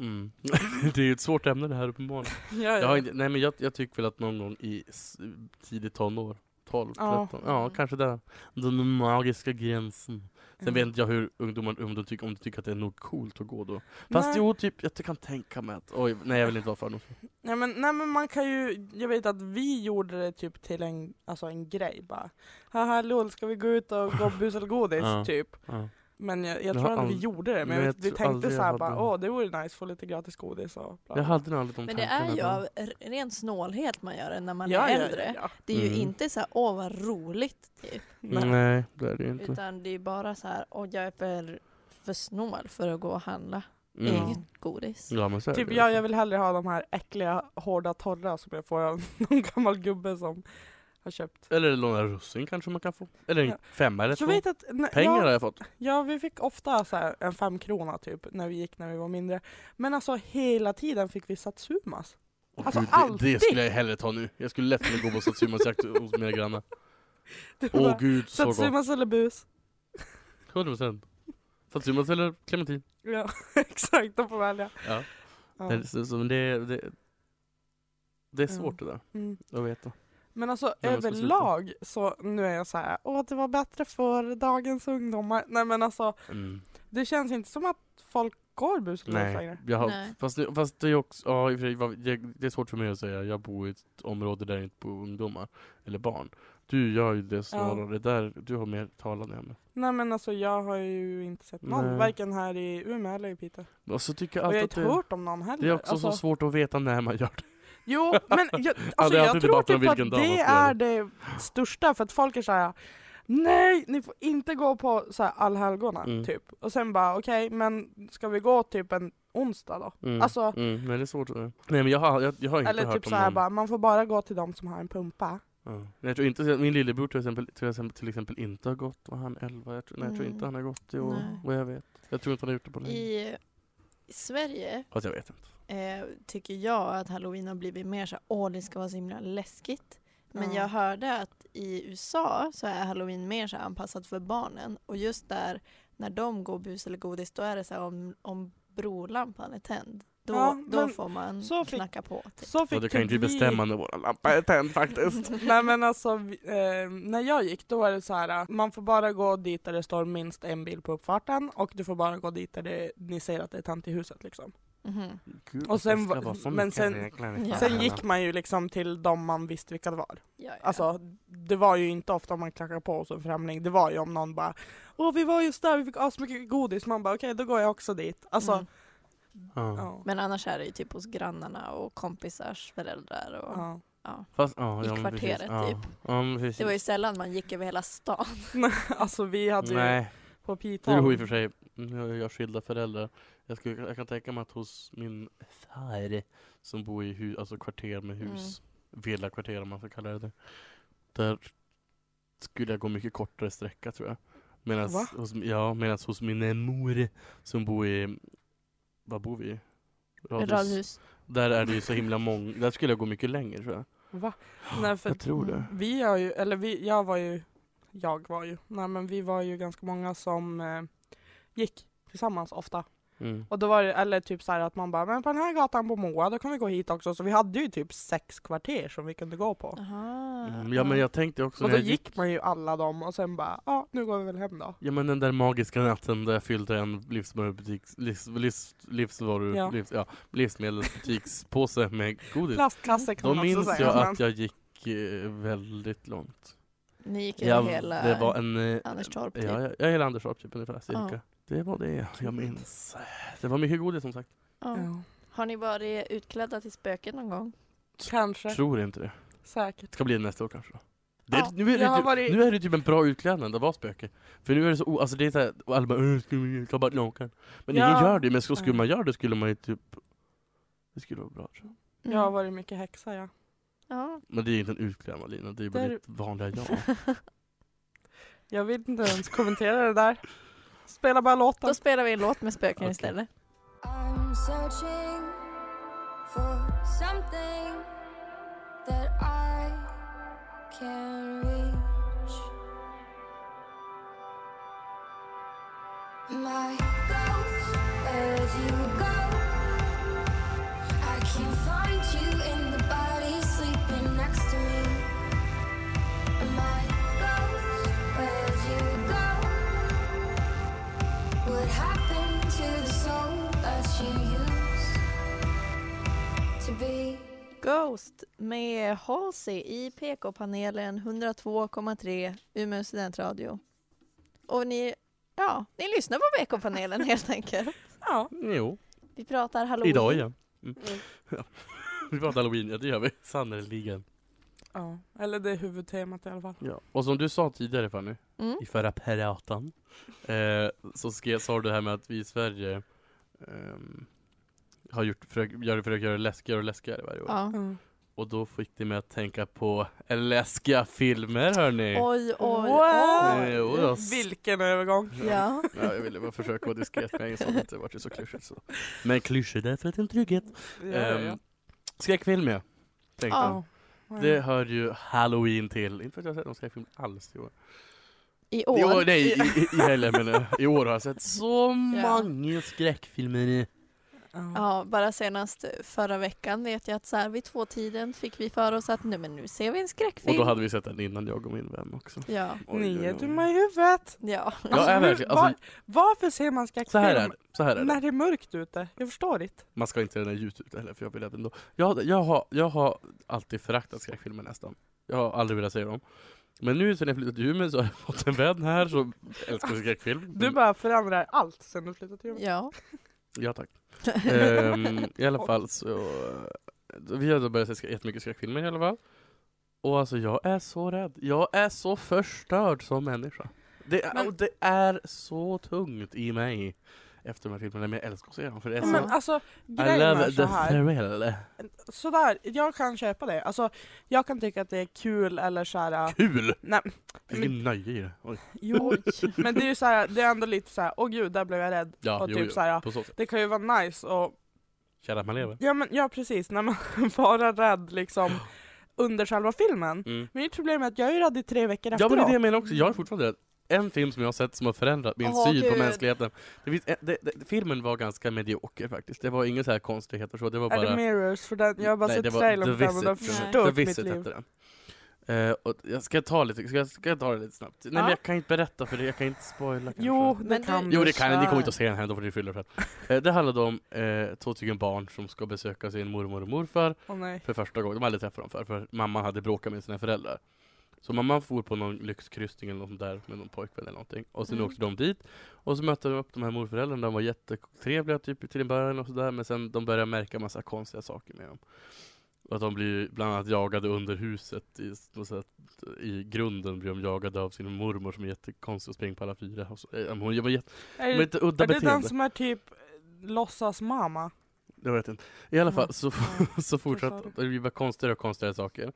Mm. det är ju ett svårt ämne det här uppenbarligen.
Ja,
Jag, har inte, nej, men jag, jag tycker väl att någon gång i s- tidigt tonår, 12,
Ja.
13, ja kanske där. Den magiska gränsen. Sen
Mm.
vet inte jag hur ungdomar om de tycker, om de tycker att det är nog coolt att gå då. Fast
Nej.
jo, typ, jag kan tänka mig att, oj, nej jag vill inte vara fördomsfull.
Nej men, nej men man kan ju, jag vet att vi gjorde det typ till en, alltså en grej bara. Haha lol, ska vi gå ut och gå bus eller godis
Ja.
typ.
Ja.
Men jag, jag
Jag
tror
har
aldrig vi
ald-
gjorde det, men
Nej,
jag
jag
vet, vi
tror
tänkte
aldrig
såhär
jag
bara
hade-
åh det vore nice, få lite gratis godis och bla, bla.
Jag hade nog aldrig de
Men det
tankarna
är ju
då.
av r- ren snålhet man gör det när man
ja,
är
ja,
äldre.
Ja, ja.
Det är ju
Mm.
inte så här, åh vad roligt, typ.
Nej.
Nej, det är det ju inte.
utan det är bara så här, åh jag är för, för snål för att gå och handla
Mm.
eget godis.
Ja, men så är
Typ
det. liksom.
jag, jag vill hellre ha de här äckliga, hårda, torra som jag får av någon gammal gubbe som har köpt.
Eller låna russin kanske man kan få. Eller en
Ja.
femma eller två.
Jag vet att, nej,
Pengar
ja,
har jag fått.
Ja, vi fick ofta så här en femkrona typ när vi gick när vi var mindre. Men alltså hela tiden fick vi satsumas.
Åh,
Alltså,
det, det
alltid.
skulle jag hellre ta nu. Jag skulle lätt kunna gå på Satsumas-jakt hos mina grannar.
Det var
Åh
bara,
gud, så gott.
satsumas eller bus.
100 procent. Satsumas eller clementin.
Ja, exakt. De får välja.
Ja.
Ja.
Det, så, så, men det, det, det är
Ja.
svårt det där,
Mm.
jag vet det.
Men alltså
När man ska sluta.
överlag så nu är jag så här, åh det var bättre för dagens ungdomar. Nej men alltså,
Mm.
det känns inte som att folk går bus eller bus
Nej,
längre.
jag har,
Nej.
fast, det- fast det är också, ja, i och för sig, vad- det, det är svårt för mig att säga, jag bor i ett område där det inte bor ungdomar eller barn. Du gör ju det snarare, där, du har mer talande ämne.
Nej men alltså jag har ju inte sett någon,
Nej.
varken här i Umeå eller i Piteå.
Och så tycker jag
Och jag har
alltid att
inte
det,
hört om någon heller.
det är också
alltså,
så svårt att veta när man gör det.
Jo, men jag, alltså,
det är
jag
alltid
tror
debatten om
typ
vilken
att
dag man
det
ska göra
är det största för att folk är såhär Nej, ni får inte gå på så här allhelgona
Mm.
typ. Och sen bara okej, men ska vi gå typ en onsdag då?
Mm.
Alltså-
mm. Nej det är svårt att Nej men jag har, jag, jag har inte
Eller
hört
typ
om
så här
någon-
bara, man får bara gå till de som har en pumpa.
Ja. Nej, Jag tror inte, min lillebror till exempel, till exempel, till exempel inte har gått, var han 11? Jag tror, nej, jag tror inte
Mm.
han har gått i år,
Nej.
vad jag vet. Jag tror inte han har gjort det på länge.
I, I Sverige
Fast jag vet inte.
eh, tycker jag att halloween har blivit mer så här, åh det ska vara så himla läskigt. Men
Ja.
jag hörde att i USA så är halloween mer så här anpassad för barnen och just där när de går bus eller godis då är det så här om, om brolampan är tänd. Då,
Ja,
då
men
får man
så fick-
knacka på. Typ.
Så
Och
fick
du kan ju
typ
inte bestämma när våra lampor är tänd faktiskt.
Vi... Nej men alltså, vi, eh, när jag gick då var det så här, eh, man får bara gå dit där det står minst en bil på uppfarten och du får bara gå dit där det, ni ser att det är tant i huset liksom.
Mhm.
Gud,
Och sen
det ska
va-
vara så
men
mycket
sen-
regler i
sen
samhället.
Sen gick man ju liksom till de man visste vilka det var.
Ja, ja.
Alltså det var ju inte ofta man knackade på hos en främling, det var ju om någon bara Åh vi var just där, vi fick asmycket godis, man bara okej då går jag också dit. Alltså,
Mm.
Ja.
ja.
Men annars är det ju typ hos grannarna och kompisars föräldrar. Och...
Ja.
Fast, ja,
I
ja, men precis.
kvarteret,
ja.
typ.
Ja, men precis.
Det var ju sällan man gick över hela stan.
alltså vi hade ju
Nej,
på
det
Pital.
beror i och för sig. Nu har jag skilda föräldrar. Jag, skulle, jag kan tänka mig att hos min far, som bor i hu, alltså kvarter med
Mm.
hus, villakvarter om man ska kalla det det. Där skulle jag gå mycket kortare sträcka tror jag. Medans,
Va?
hos, ja, medans hos min mor som bor i, vad bor vi i?
Radhus.
Där är det ju så himla många, där skulle jag gå mycket längre tror jag.
Va? Nej, för
Jag tror det.
Vi har ju, eller vi, jag var ju, jag var ju, nej men vi var ju ganska många som eh, gick tillsammans ofta.
Mm.
Och då var det, eller typ så här att man bara, men på den här gatan på Moa, då kan vi gå hit också. Så vi hade ju typ sex kvarter som vi kunde gå på.
Aha.
Mm, Ja men jag tänkte också
och
när
då
jag
gick, man ju alla dem och sen bara, ja nu går vi väl hem då.
Ja men den där magiska natten där jag fyllde en livsmedelsbutik, livs, livs, livsvaru,
Ja.
Livs, ja, livsmedelsbutikspåse med godis.
Plastkasse kan
Typ. Då
man också
minns
säga.
jag
men-
att jag gick eh, väldigt långt.
Ni gick
Jag,
över hela
det var en... eh,
Anderstorp typ.
Ja, ja, ja, hela Anderstorp typ ungefär, cirka.
Ja.
Det var det jag minns. Det var mycket godis som sagt.
Ja.
Ja.
Har ni varit utklädda till spöken någon gång?
Kanske,
Tror inte det.
säkert.
Det ska bli nästa år kanske då. Det,
Ja,
nu, är det
jag har
typ,
varit-
nu är det typ en bra utklädnad att vara spöke. För nu är det så, o- alltså det är såhär, och alla bara "Åh, ska vi klä bara naken. Men
Ja.
ingen gör det, men så skulle
Mm.
man göra det skulle man ju typ Det skulle vara bra tror jag.
Mm.
Jag har varit mycket häxa ja.
Ja.
Men det är ju inte en utklädnad Lina, det är ju bara
Där-
ditt vanliga jag.
Jag vill inte ens kommentera det där. Spela bara låten.
Då spelar vi en låt med spöken
Okej.
istället.
I'm searching for something that I can reach. My ghost, where'd you go? can't find you in the body sleeping next to me. Am I ghost? Where'd you go? What happened to the soul that you used to be?
Ghost med Halsey i PK-panelen 102,3 Umeå studentradio. Och ni, ja, ni lyssnar på PK-panelen helt enkelt.
Ja,
Jo,
Vi pratar halloween.
idag igen. Mm. Ja. Vi pratar halloween, ja det gör vi. Sannerligen.
ja. Eller det är huvudtemat i alla fall.
Ja. Och som du sa tidigare Fanny,
Mm.
i förra pratan, eh, så skrev, sa du det här med att vi i Sverige ehm, har gjort, försök, gör, försöker göra det läskigare och läskigare varje år.
Ja.
Mm.
Och då fick det mig att tänka på läskiga filmer hörni.
Oj, oj,
Wow!
oj.
Jo då.
Vilken övergång!
Ja.
Ja, jag ville bara försöka vara diskret men jag insåg att det vart så klyschigt så. Men klyschor därför att det är en trygghet.
Ja, ja, ja.
Ehm, skräckfilm ja. Tänkte
Ja.
jag. Det hör ju halloween till. Inte för att jag har sett någon skräckfilm alls i år.
I
I
år.
år nej, i, i, i helgen menar jag. I år har jag sett så
Ja.
många skräckfilmer. i-
Ja.
Ja, bara senast förra veckan vet jag att så här vid två tiden fick vi för oss att nu, men nu ser vi en
Och
skräckfilm.
då hade vi sett den innan jag och min vän också.
Ja,
Oj,
Ni
oj,
är
oj.
dumma i huvudet!
ja.
Jag är
hur-
verkligen,
var,
alltså,
varför ser man
så
skräckfilm
här är det. Så här är det.
när det är mörkt ute? Jag förstår inte.
Man ska inte göra den här djupt ut heller för jag vill ändå. Jag, jag, har, jag har alltid föraktat skräckfilmer nästan. Jag har aldrig velat se dem. Men nu sen jag flyttat till Umeå så har jag fått en vän här som älskar skräckfilm.
Du bara förändrar allt sen du flyttade till Umeå.
ja.
Ja tack. Ehm, I alla fall så... Vi har då börjat se skrä- jättemycket skräckfilmer i alla fall. Och alltså jag är så rädd. Jag är så förstörd som människa. Det är,
Men-
och det är så tungt i mig efter de här filmerna. Men jag älskar att se dem för det är
Ja,
så...
Men alltså,
I
grejen är
love
så
the
här.
thrill.
Sådär, jag kan köpa det. Alltså, jag kan tycka att det är kul eller såhär...
Kul!
Nej,
Vilket nöje i det. Oj.
jo. Men det är ju såhär, det är ändå lite såhär, åh gud, där blev jag rädd.
Ja,
och
jo,
typ
jo.
såhär,
På så sätt.
det kan ju vara nice och
Kära att man lever.
Ja men ja precis, när man bara rädd liksom under själva filmen.
Mm.
Mitt problem är att jag är ju rädd i tre veckor
Ja
efteråt.
men det är det jag menar också, jag är fortfarande rädd. En film som jag har sett som har förändrat min
Åh,
syn på
Gud.
mänskligheten. Det finns, det, det, filmen var ganska medioker faktiskt. Det var inga så här konstigheter så, det var
Är det
bara...
Mirrors? För den, jag har bara
Nej, det
sett
var
trailern
The
för den och
Nej.
den förstört
Visit. The
mitt
Visit
liv.
hette den. Eh, och jag ska ta lite, ska, jag- ska jag ta det lite snabbt? Nej
Ja.
men jag kan inte berätta för det, jag kan inte spoila kanske.
Jo, det
Men
kan
du-
du.
Jo det kan jag, ni
köra.
kommer inte att se den här, då får ni fylla för det. Eh, det handlade om eh, två stycken barn som ska besöka sin mormor och morfar
Åh nej.
för första gången. De hade aldrig träffat dem för, för mamman hade bråkat med sina föräldrar. Så mamman for på någon lyxkryssning eller något sånt där med någon pojkvän eller någonting. Och sen
Mm.
åkte de dit. Och så mötte de upp de här morföräldrarna. De var jättetrevliga typ till en början och sådär. Men sen de började märka massa konstiga saker med dem. Och att de blir bland annat jagade under huset. I, något sånt här- i grunden blir de jagade av sin mormor som är jättekonstig och springer på alla fyra. Och så, eh, hon gör jätte,
Är,
med ett udda
är det den
beteende.
som är typ låtsas mamma?
Jag vet inte. I alla fall
Ja.
så
Ja.
så fortsatte
sa
det. Det blev bara konstigare och konstigare saker.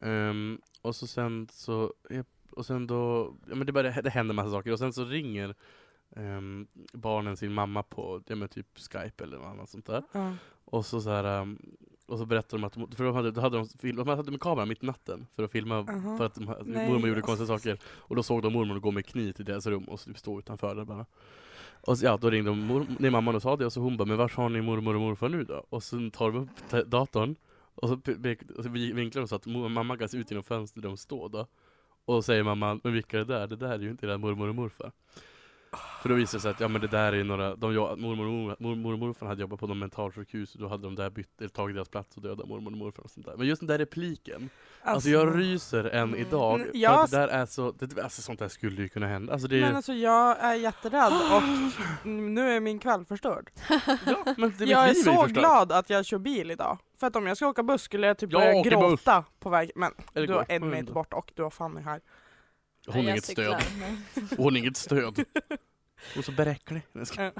Ehm, och så sen så, och sen då, ja men det, bara, det händer massa saker och sen så ringer ehm, barnen sin mamma på, ja men typ skype eller något annat sånt där.
Ja.
Och så, så här, ehm, och så berättar de att, de- för de hade, då hade de, film, de hade med kameran mitt i natten för att filma
Aha.
för att de, att
Nej,
mormor gjorde
alltså.
konstiga saker. Och då såg de mormor gå med kniv till deras rum och typ stå utanför där bara. Och så, ja, då ringde de mor, nej, mamman och sa det och så hon bara, men vart har ni mormor och morfar nu då? Och sen tar de upp te- datorn och så, pe- pe- och så vi- vinklar de så att mor, mamma kan se ut genom fönstret där de står då. Och så säger mamman, men vilka är det där? Det där är ju inte era mormor och morfar. För då visar det sig att ja, men det där är ju några, de, jo- mormor och mor- mormor och morfar hade jobbat på något mentalsjukhus och då hade de där bytt, eller tagit deras plats och dödat mormor och morfar och sånt där. Men just den där repliken Alltså jag ryser än idag,
Mm,
för
jag-
att det där är så, det, alltså sånt där skulle ju kunna hända. Alltså det är,
Men alltså jag är jätterädd och nu är min kväll förstörd.
ja, men det
jag är
mitt liv ju
så
förstört.
glad att jag kör bil idag. För att om jag ska åka buss skulle jag typ
Jag
börja
åker
gråta på väg. Men
Eller
du
går.
har en
Mm.
meter bort och du har Fanny här.
Hon är
Jag
inget
cyklar.
stöd, hon är inget stöd. Hon är så bräcklig. Nej, ska-
Ja.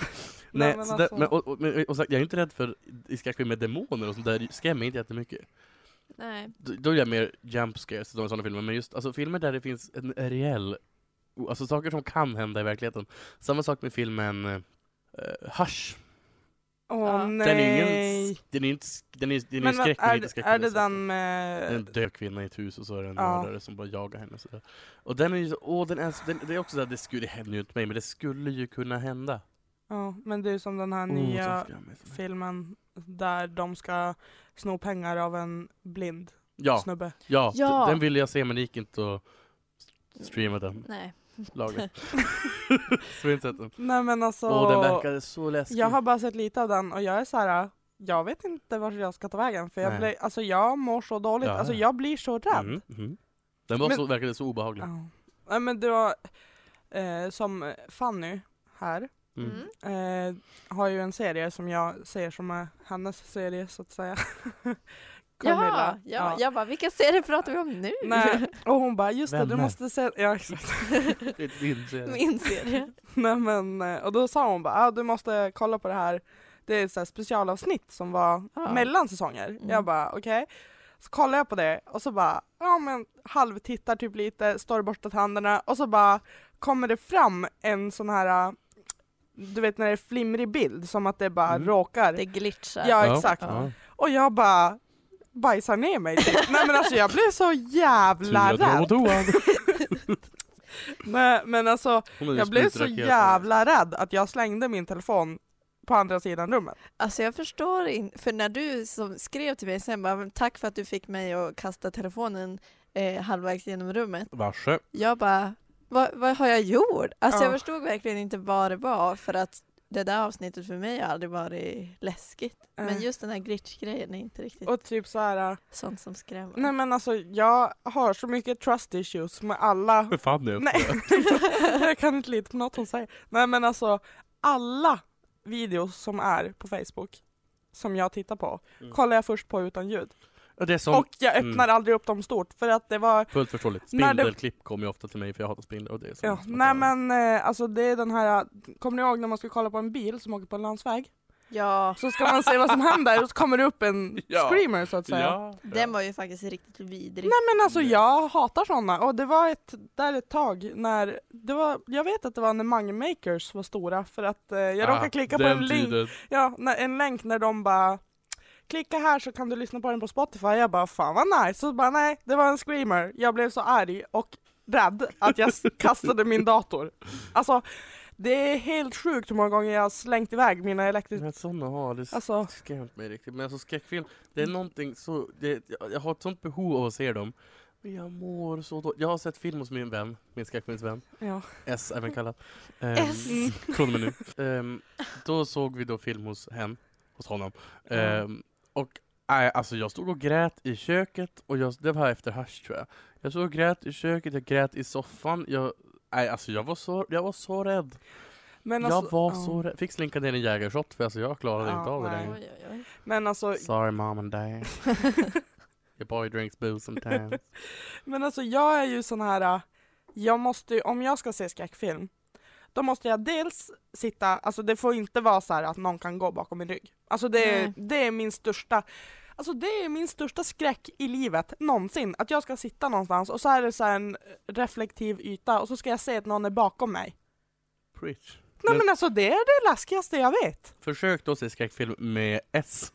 Nej,
men
så där,
alltså.
men, och, och, men, och, sagt, jag är inte rädd för i skräckfilm med demoner och sånt där, det skrämmer mig inte jättemycket.
Nej.
Då, då är jag mer jump scares och sådana filmer, men just alltså, filmer där det finns en reell, alltså saker som kan hända i verkligheten. Samma sak med filmen uh, Hush
Åh
Ja.
nej.
Den är ingen, den är inte, sk- den är, den är
men vad-
skräck,
är,
inte
det-
skräck.
är det
sättet.
den
Det är en
med...
död kvinna i ett hus och så är det en
Ja.
mördare som bara jagar henne. och sådär. Och den är ju så, åh, den är, så- den, det är också såhär, det skulle det händer ju inte mig, men det skulle ju kunna hända.
Ja, men det är som den här
Åh, så
nya
skrämmigt.
filmen där de ska sno pengar av en blind
Ja,
snubbe.
ja, d-
Ja.
den ville jag se men det gick inte att streama den
Nej.
lagen. så vi har inte sett den.
Nej men alltså,
Åh, den verkade så läskig.
jag har bara sett lite av den och jag är så här. jag vet inte vart jag ska ta vägen för jag,
Nej.
blir, alltså, jag mår så dåligt,
Ja,
alltså
ja.
jag blir så rädd.
Mm, mm. Den var
Men-
så, verkade så obehaglig.
Ja. Nej men det var, eh, som Fanny här,
Mm.
Mm.
eh, har ju en serie som jag ser som är hennes serie så att säga.
Jaha, ja, jag bara, vilka serier pratar vi om nu?
Nej, och hon bara just det, du
Vänner.
måste se, ja exakt.
Det är din serie.
Min serie.
Nej men, eh, och då sa hon bara ah, du måste kolla på det här, det är ett så här specialavsnitt som var
Ah.
mellan säsonger.
Mm.
Jag bara okej. Så kollar jag på det och så bara, ja men halvtittar typ lite, står och borstar tänderna och så bara kommer det fram en sån här, eh, du vet när det är flimrig bild som att det bara
Mm.
råkar.
Det glitchar.
Ja, exakt.
Ja.
Och jag bara bajsar ner mig. typ. Nej men alltså jag blev så jävla
Tur att
rädd.
hon var toad.
Nej men alltså
Hon är ju
jag blev så
spritraket.
jävla rädd att jag slängde min telefon på andra sidan rummet.
Alltså jag förstår inte, för när du som skrev till mig sen bara, "Men tack för att du fick mig att kasta telefonen eh, halvvägs genom rummet.
Varse.
Jag bara, vad, vad har jag gjort? Alltså
Ja.
jag förstod verkligen inte vad det var för att det där avsnittet för mig har aldrig varit läskigt. Men
Eh,
just den här glitch-grejen är inte riktigt
Och typ så här. eh,
sånt som skrämmer.
nej men alltså jag har så mycket trust issues med alla.
Hur fan nu?
nej, jag kan inte lita på något hon säger. Nej men alltså alla videos som är på Facebook som jag tittar på,
Mm.
kollar jag först på utan ljud.
Och det är som Mm.
Och jag öppnar aldrig upp dem stort för att det var
fullt förståeligt.
När det-
Spindelklipp kommer ju ofta till mig för jag hatar spindlar och det är så.
Ja, nej men eh, alltså det är den här, kommer ni ihåg när man ska kolla på en bil som åker på en landsväg?
Ja,
Så ska man se vad som händer och så kommer det upp en
Ja.
screamer så att säga.
Ja.
den var ju faktiskt riktigt vidrig.
Nej men alltså jag hatar sådana och det var ett, där ett tag när, det var, jag vet att det var när Mange Makers var stora för att eh, jag råkade klicka på
Ah, den
en länk,
tiden.
ja, när, en länk när de bara Klicka här så kan du lyssna på den på Spotify. Jag bara fan vad nice. Så bara nej, det var en screamer. Jag blev så arg och rädd att jag s- kastade min dator. Alltså det är helt sjukt hur många gånger jag har slängt iväg mina elektriska...
Men sådana har det
Alltså
skrämt mig riktigt. Men alltså skräckfilm, det är någonting så, det, jag, jag har ett sånt behov av att se dem. Men jag mår så dåligt. Jag har sett film hos min vän, min skräckfilmsvän.
ja.
S även kallad.
S.
Ehm, Från och med nu. Ehm, då såg vi då film hos hen, hos honom. Ehm, och nej, alltså jag stod och grät i köket och jag, det var efter hasch tror jag. Jag stod och grät i köket, jag grät i soffan. Jag, nej, alltså jag var så, jag var så rädd.
Men alltså,
jag var
ja.
så rädd. Fick slinka ner en jägershot för alltså jag klarade
Ja,
inte av det
nej.
längre.
Oj, oj, oj.
Men alltså,
Sorry mom and dad. Your boy drinks booze sometimes.
men alltså jag är ju sån här, äh, jag måste ju- om jag ska se skräckfilm, då måste jag dels sitta, alltså det får inte vara så här att någon kan gå bakom min rygg. Alltså det är,
Nej.
det är min största, alltså det är min största skräck i livet någonsin, att jag ska sitta någonstans och så är det så här en reflektiv yta och så ska jag se att någon är bakom mig.
Preach.
Nej
Men-
men alltså det är det läskigaste jag vet.
Försök då se skräckfilm med S.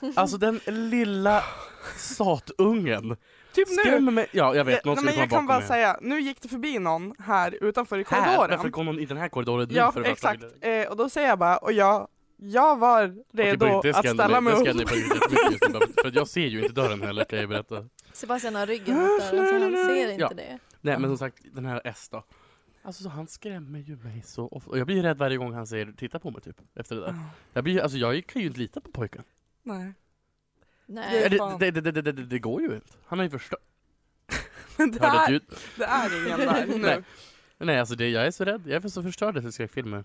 Alltså den lilla satungen.
Typ nu.
Skrämmer mig. Ja, jag vet.
Jag,
någon
nej,
skulle
men jag
komma
kan
bakom
bara
mig.
säga, nu gick det förbi någon här utanför i
Här,
korridoren.
varför kom någon i den här korridoren nu
Ja,
för det första?
exakt. Eh, och då säger jag bara, och jag, jag var redo
Okej, det
att
skrämde
ställa
mig-
mig
det
upp.
skrämde mig faktiskt jättemycket just nu, bara- För att jag ser ju inte dörren heller kan jag berätta.
Sebastian har ryggen mot dörren så han ser inte
Ja.
det.
Nej men som sagt, den här S då. Alltså så han skrämmer ju mig så ofta. Och jag blir ju rädd varje gång han säger titta på mig typ. Efter det
Mm.
där. Jag, blir, alltså, jag kan ju inte lita på pojken.
Nej.
Nej.
Det är
Det,
fan.
det, det, det, det, det, det går ju inte. Han har ju förstört.
Men det,
Hörde ett
är,
ljud.
det är ingen där
Nej.
nu.
Nej alltså det, jag är så rädd. Jag är för så förstörd efter skräckfilmer.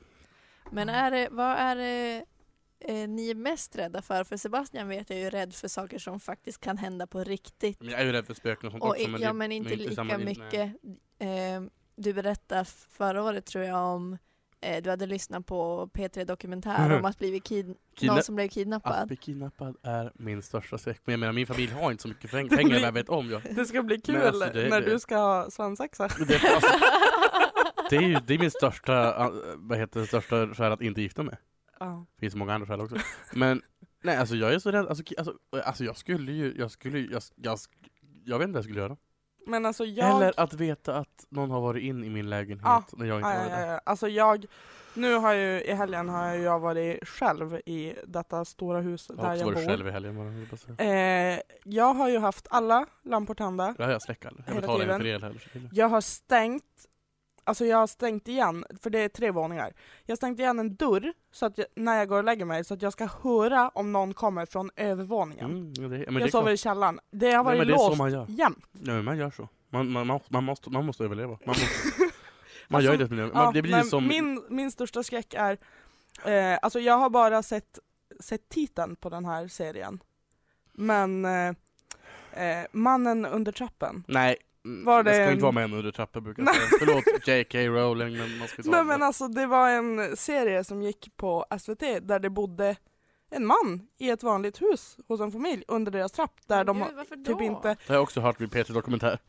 Men är det, vad är det eh, ni är mest rädda för? För Sebastian vet jag är ju rädd för saker som faktiskt kan hända på riktigt.
Men jag är ju rädd för spöken och sånt
Och
också.
i,
men
ja,
det-
men inte lika
samma- nej.
mycket. Eh, du berättade förra året tror jag om eh, du hade lyssnat på P3 Dokumentär om att bli kid-
Mm-hmm. Kidna-
någon som blev
Att
kidnappad.
bli kidnappad är min största skräck. Men jag menar min familj har inte så mycket peng- pengar men jag vet om. Jag.
Det ska bli kul
Men alltså, det-
när
det-
du ska ha svensexa.
Men Det, alltså, det, är ju, det är min största, äh, vad heter det, största skäl att inte gifta mig.
Ja.
Det finns många andra skäl också. Men nej äh, alltså jag är så rädd. Alltså, ki- alltså, alltså jag skulle ju, jag skulle ju, jag, jag, jag vet inte vad jag skulle göra.
Men alltså jag...
Eller Oh att veta att någon har varit in i min lägenhet
Ja.
när jag inte
Ja,
var
ja, ja,
där.
ja. Alltså jag, nu har ju i helgen har jag, jag varit själv i detta stora hus
Jag har
där
också
jag
varit
bor.
själv i helgen. bara, jag hoppas jag.
Eh, jag har ju haft alla lampor tända.
Ja, jag släcker aldrig. Jag
Hela
betalar inte för
tiden.
el heller.
Jag har stängt, alltså jag har stängt igen, för det är tre våningar. Jag har stängt igen en dörr så att jag, när jag går och lägger mig så att jag ska höra om någon kommer från övervåningen.
Mm, ja, det, men det är
jag sover
klart.
i källaren. Det har
Nej,
varit
men det är så
låst
man gör.
jämt.
Ja, men man gör så. Man, man, man, man, måste, man måste överleva. Man, måste, man
Alltså,
gör ju det. Man,
Ja,
det blir
nej,
ju som...
min, min största skräck är, eh, alltså jag har bara sett, sett titeln på den här serien. Men eh, eh, Mannen under trappen.
Nej, mm,
Var
jag
det
ska
en-
inte vara med en under trappor brukar jag säga. Förlåt J.K. Rowling, men man ska inte
Nej
vara
men
med.
alltså det var en serie som gick på SVT där det bodde en man i ett vanligt hus hos en familj under deras trapp där de har
Gud, varför då?
typ inte...
Det har jag också hört vid Petri Dokumentär.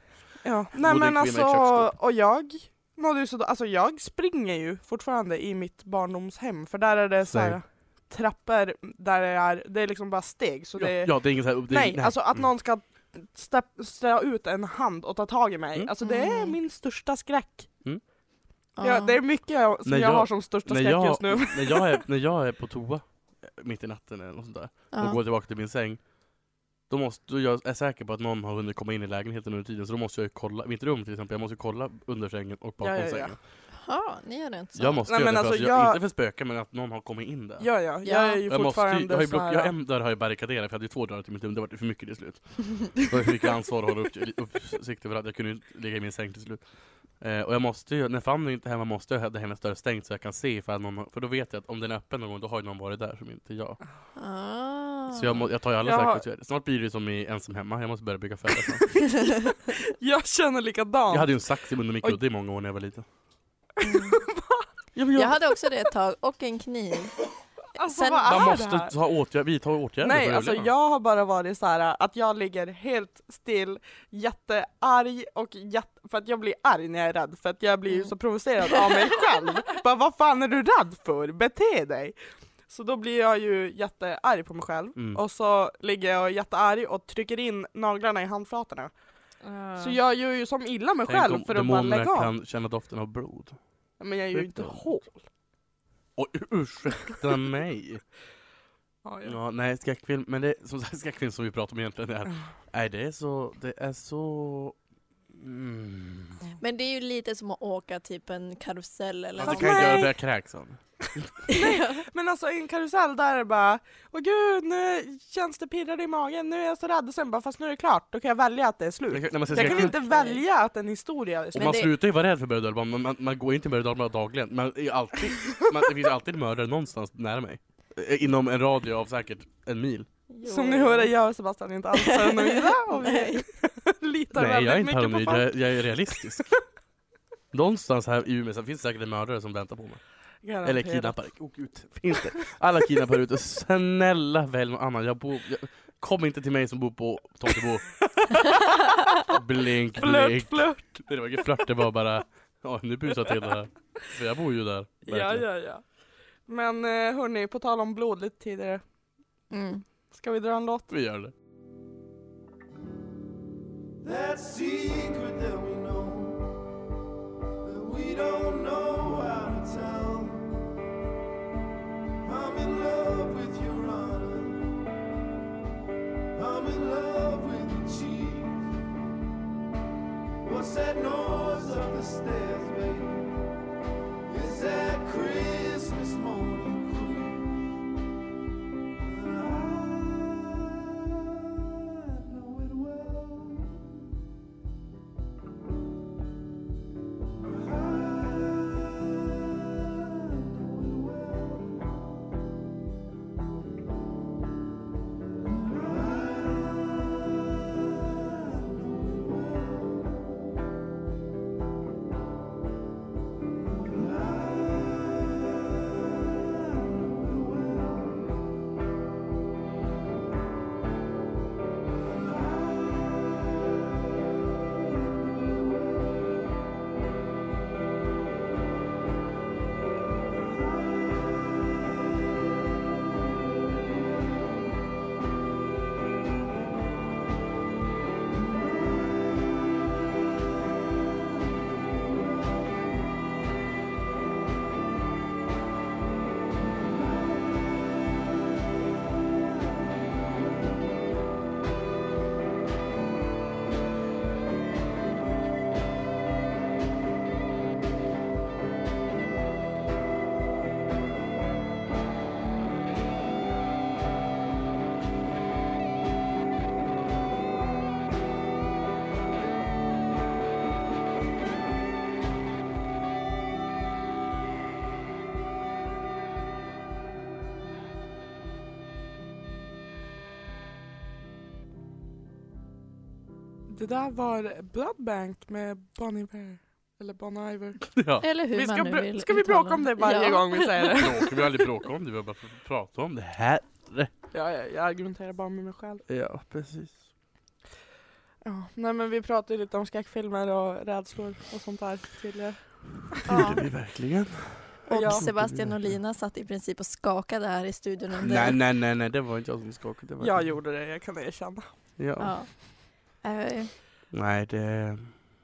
Ja. Nej
Bodde en
men
kvinna i
alltså,
köksskåpet.
och jag mådde ju så då- Alltså jag springer ju fortfarande i mitt barndomshem för där är det så här
Same.
trappor där det är, det är liksom bara steg så det
Ja,
är...
ja, det är inget så här... Det,
nej, alltså att
Mm.
någon ska stä- strö ut en hand och ta tag i mig,
Mm.
alltså det är
Mm.
min största skräck.
Ja.
Ja, det är mycket jag, som
När
jag,
jag-
har som största
när
skräck
jag,
just nu.
när, jag är, när jag är på toa eh, mitt i natten eller något sånt där, och går tillbaka till min säng då, måste, då jag är jag säker på att någon har hunnit komma in i lägenheten under tiden så då måste jag ju kolla, mitt rum till exempel, jag måste ju kolla under sängen och bakom
Ja, ja, ja.
sängen.
Jaha, ni gör det inte så?
Jag måste
Nej,
göra
men
det för
alltså,
att jag,
jag-
inte för spöken men att någon har kommit in där.
Ja, ja,
Ja.
jag är ju
jag måste ju, jag
fortfarande
har ju
så
block,
här,
jag, en dörr har jag barrikaderat för jag hade ju två dörrar till mitt rum, det var för mycket till slut. Då fick jag ansvar att hålla upp, uppsikt över att jag kunde ju inte ligga i min säng till slut. Eh, och jag måste ju, när Fanny inte är hemma måste jag ha hennes dörr stängd så jag kan se ifall någon, har- för då vet jag att om den är öppen någon gång då har ju någon varit där som inte jag.
Ah.
Så jag, må, jag tar ju alla
Jag har-
säkerhetsåtgärder. Snart blir det som i Ensam Hemma, jag måste börja bygga fällor snart.
jag känner likadant.
Jag hade ju en sax under min kudde i många år när jag var liten. Ja, men
Jag hade också det ett tag, och en kniv.
alltså
sen-
vad är
man
det här?
måste ta åtgärder, vi tar åtgärder
Nej,
för att
alltså
överleva.
jag har bara varit så här att jag ligger helt still, jättearg och jätte... För att jag blir arg när jag är rädd, för att jag
Mm.
blir ju så provocerad av mig själv. Bara, vad fan är du rädd för? Bete dig! Så då blir jag ju jättearg på mig själv,
Mm.
och så ligger jag jättearg och trycker in naglarna i handflatorna.
Ah.
Så jag gör ju som illa mig
Tänk om
själv för att bara lägga av.
kan känna doften av blod.
Men jag är ju inte hård.
Oj, ursäkta mig.
Ja, ja.
Ja, nej, skräckfilm, men det som sagt skräckfilm som vi pratar om egentligen
Mm.
är, nej det är så, det är så... Mm.
Men det är ju lite som att åka typ en karusell eller
Fast
Fast
det kan ju
nej.
göra det jag kräks av.
Men alltså i en karusell där är det bara Åh gud, nu känns det pirrar i magen, nu är jag så rädd och sen bara fast nu är det klart, då kan jag välja att det är
Jag
slut.
kan- när man ser
Jag kan
skräckfilm-
inte välja att en historia är
Och
slut.
Men
man
det-
slutar ju vara rädd för berg och dalbana, man, man, man går ju inte berg och dalbana dagligen. Man är ju alltid, man, det finns alltid en mördare någonstans nära mig. Eh, Inom en radie av säkert en mil.
Jo.
Som ni hör är jag och Sebastian inte alls paranoida och vi
Nej.
litar
Nej, jag är
väldigt
inte
mycket på
paranoid,
folk.
jag, jag är realistisk. någonstans här i Umeå så finns det säkert en mördare som väntar på mig. Eller
Garanterat.
kidnappare. Åh gud, finns det? Alla kidnappare ute, snälla välj någon annan. Jag bor, jag, kom inte till mig som bor på Tomtebo. blink,
Flört,
blink.
flört.
Det var ingen flört, det var bara, ja nu busar jag till det här. För jag bor ju där.
Ja, ja, ja. Men eh, hörni, på tal om blod lite tidigare,
Mm.
ska vi dra en låt?
Vi gör det.
That secret that we know, that we don't know how to tell. I'm in love with your honor. I'm in love with your cheeks. What's that noise up the stairs, babe? Is that Christmas morning creep? I know it well.
Det där var Blood Bank med Bon Iver. Eller Bon Iver.
Ja.
Eller hur
Vi ska,
man nu
br-
vill
ska vi
uttala
bråka om det
det.
varje
Ja.
gång vi säger det?
Bråkar vi har aldrig bråkat om det, vi har bara pratat om det här.
Ja, ja, jag argumenterar bara med mig själv.
Ja, precis.
Ja, nej men vi pratade ju lite om skräckfilmer och rädslor och sånt där tidigare.
Gjorde
Ja.
vi verkligen?
Och
Ja.
Sebastian och Lina satt i princip och skakade här i studion under...
Nej, nej, nej, nej, det var inte jag som skakade. Det var
Jag gjorde det, jag kan erkänna.
Ja.
Ja. Eh,
Nej, det,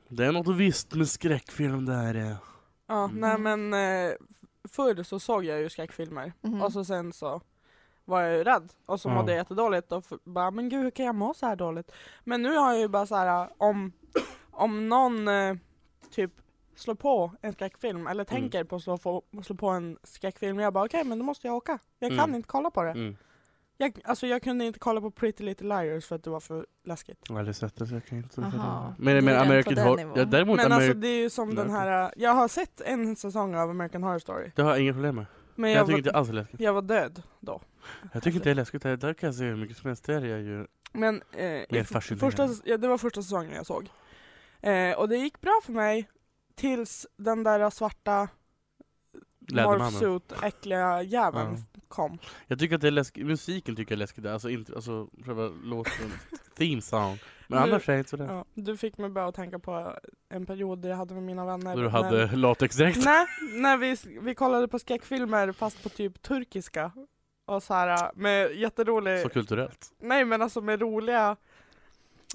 det är något visst med skräckfilm där. eh.
Ja,
Mm.
nej men eh, förr så såg jag ju skräckfilmer
mhm.
och så sen så var jag ju rädd och så
Mm. Ja.
mådde jag jättedåligt och f- bara men gud hur kan jag må så här dåligt? Men nu har jag ju bara så här eh, om, om någon eh, typ slår på en skräckfilm eller
Mm.
tänker på att slå, få, slå på en skräckfilm, jag bara okej men då måste jag åka. Jag kan
Mm.
inte kolla på det.
Mm.
Jag, alltså jag kunde inte kolla på Pretty Little Liars för att det var för läskigt.
Jag har aldrig sett det så jag kan inte
Aha.
Men,
Det
men
är den
American
på den
Horror...
nivån.
Ja, däremot
Men
Ameri-
alltså det är ju som den
American.
här, äh, jag har sett en säsong av American Horror Story.
Det har jag inga problem med.
Men
Jag,
jag,
tycker
var,
inte alls det är läskigt.
jag var död då.
Jag tycker inte det är läskigt. Det där kan jag se hur mycket som helst. Där är jag ju...
Men eh, i f-
fascinerande.
första, ja, det var första säsongen jag såg. Eh, och det gick bra för mig tills den där svarta
Lädermannen.
morphsuit äckliga jäveln
Ja.
kom.
Jag tycker att det är läskigt. Musiken tycker jag är läskig. där. Alltså, inte, alltså själva låten. Theme song. Men
Nu-
annars är jag inte sådär.
Ja, du fick mig börja tänka på en period där jag hade med mina vänner.
Då du
när-
hade latexdräkt.
Nej, när vi, vi kollade på skräckfilmer fast på typ turkiska. Och så här med jätterolig,
Så kulturellt.
nej men alltså med roliga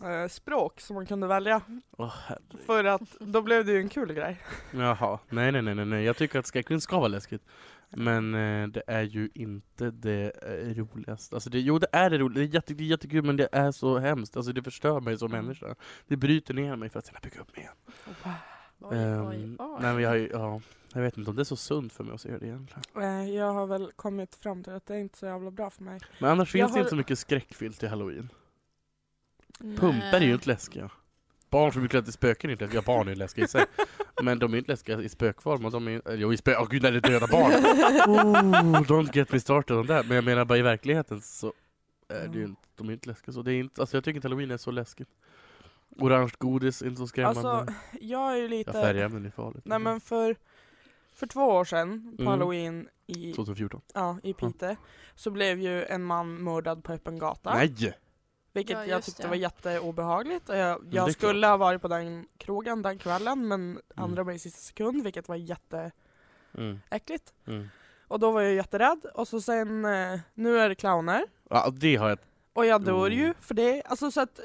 eh, språk som man kunde välja.
Åh,
För att då blev det ju en kul grej.
Jaha, nej nej nej nej, nej. jag tycker att skräckfilm ska vara läskigt. Men eh, det är ju inte det eh, roligaste. Alltså det, jo det är det roliga, det är, jätte, det är jättekul men det är så hemskt. Alltså det förstör mig som människa. Det bryter ner mig för att sedan bygga upp mig igen.
Oj, oj,
Ehm,
oj.
Nej men jag, har ju- ja, jag vet inte om det är så sunt för mig att se det egentligen.
Eh, jag har väl kommit fram till att det är inte så jävla bra för mig.
Men annars
Jag
finns det
har-
inte så mycket skräckfilm till halloween.
Nej.
Pumpar är ju inte läskiga. Barn som blir klädda till spöken är inte läskiga, barn är ju läskiga i sig. Men de är inte läskiga i spökform. Och de är, eller jo, i spö... Åh gud, nej, det är döda barn! Oh, don't get me started on that. Men jag menar bara i verkligheten så är det ju inte, de är inte läskiga. Så det är inte, alltså jag tycker inte halloween är så läskigt. Orange godis, är inte så skrämmande.
Alltså jag är ju
ja,
lite,
färgämnen är farligt.
nej men för, för två år sedan på
Mm.
halloween i,
2014.
ja, i Piteå så blev ju en man mördad på öppen gata.
Nej!
Vilket
Ja,
jag
just
tyckte
det.
var jätteobehagligt. Och jag
det är
jag skulle ha varit på den krogen den kvällen men andra mig i sista sekund vilket var jätteäckligt.
Mm, mm.
Och då var jag jätterädd och så sen, eh, nu är det clowner.
Ja, det har jag,
Och jag dör ju
Mm.
för det. Alltså så att,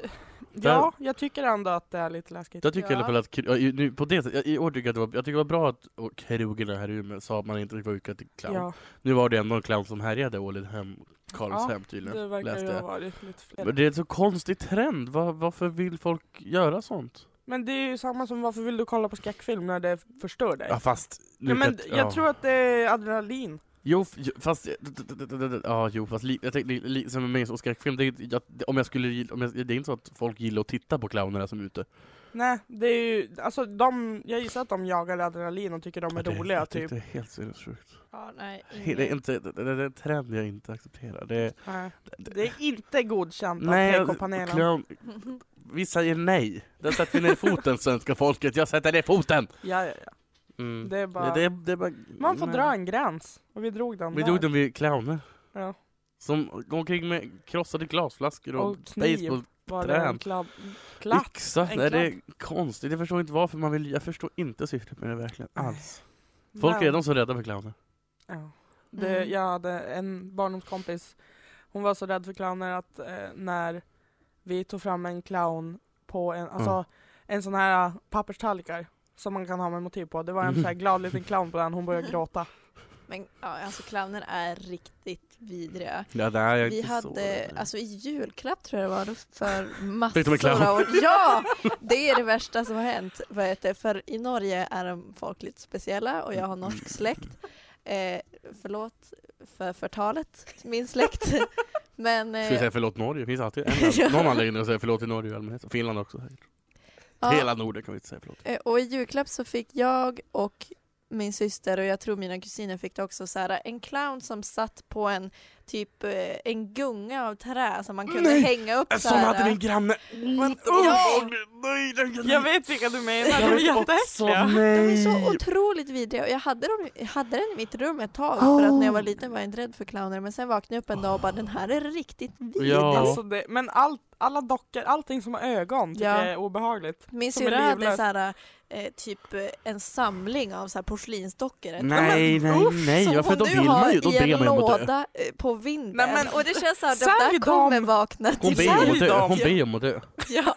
ja, jag tycker ändå att det är lite läskigt.
jag tycker i alla
Ja.
fall att, kro- ja, i- nu, på det sättet, i år tycker jag att det var, jag tycker det var bra att och krogarna här i Umeå sa att man inte fick vara utklädd till clown.
Ja,
Nu var det ändå en clown som härjade i Ålidhem, Karlshem tydligen.
det verkar ju
läste
ha
jag.
varit lite fler.
Men det är en så konstig trend, Va- varför vill folk göra sånt?
Men det är ju samma som varför vill du kolla på skräckfilm när det förstör dig?
Ja fast... nu
Ja, men
kan-
jag tror att det är adrenalin.
Jo f- jo, fast... d- d- d- d- d- d- Ja jo fast li, jag tänkte, li, li, som med en skräckfilm, det, är- jag, det- om jag skulle, gill- om jag, det är inte så att folk gillar att titta på clownerna som är ute.
Nej, det är ju, alltså de, jag gissar att de jagar adrenalin och tycker de är
Ja, det,
roliga
jag
typ. Mm.
tyckte Det är helt sinnessjukt.
Ja, nej,
He- Det är inte, det, det, det är en trend jag inte accepterar. Det,
Nej. Det är inte godkänt av
nej,
PK-panelen.
clown, vi säger nej. Där sätter vi ner foten svenska folket, jag sätter ner foten!
Ja, ja, ja.
Mm.
Det är bara-
Ja, det, är- det är bara
Man får
nej.
dra en gräns. Och vi drog den
Vi
där.
drog den vid clowner.
Ja.
Som går omkring med krossade glasflaskor och,
Och kniv.
baseball
Var det
trän.
en klabb... klatt?
Yxa,
En
nej, det är konstigt. Jag förstår inte varför man vill, jag förstår inte syftet med det verkligen alls. Folk
Men-
är redan så rädda för clowner.
Ja. Det,
Mm.
jag hade en barndomskompis, hon var så rädd för clowner att eh, när vi tog fram en clown på en, alltså,
Mm.
en sån här eh, papperstallrikar som man kan ha med motiv på. Det var en
Mm.
så här glad liten clown på den, hon började gråta.
Men ja, alltså clowner är riktigt vidriga.
Ja, nej, jag är
Vi
inte så
hade,
rädd.
alltså i julklapp tror jag det var, då för
Fick de en clown?
massor av år. Ja! Det är det värsta som har hänt. Vad heter, det? för i Norge är de folk lite speciella och
Mm.
jag har norsk släkt. Eh, förlåt för förtalet, min släkt. Men
Ska vi
eh,
säga förlåt Norge? Det finns alltid en,
Ja.
någon anledning att säga förlåt till Norge i allmänhet. Och Finland också. säkert.
ja,
Hela Norden kan vi inte säga förlåt.
eh, och i julklapp så fick jag och min syster och jag tror mina kusiner fick det också så här, en clown som satt på en typ eh, en gunga av trä som man kunde
Nej,
hänga upp
En
så
sån
här.
hade min granne! Men
Ja.
usch! Nej, den kan
eh. Jag vet vilka du menar,
Jag
de är
vet också,
jätteäckliga.
nej.
De är så otroligt vidriga och jag hade, dem, jag hade den i mitt rum ett tag för att när jag var liten var jag inte rädd för clowner men sen vaknade jag upp en dag och bara den här är riktigt vidrig.
Ja.
Alltså det, men allt, alla dockor, allting som har ögon tycker
Ja.
jag är obehagligt.
Min
Som är
syrra hade
livlös.
så här, eh, typ eh, en samling av så här porslinsdockor. ett
Nej, nej, nej. Varför
Som
de
hon
vill
nu har
man ju.
i
De
en
ber man ju om att dö.
låda eh, på vinden.
Nej, men-
och det känns så här, de
Sälj
där kommer
dem!
vakna
Hon
Till
ber ju om att
sälj
dö.
dem.
Hon ber om att dö.
Ja.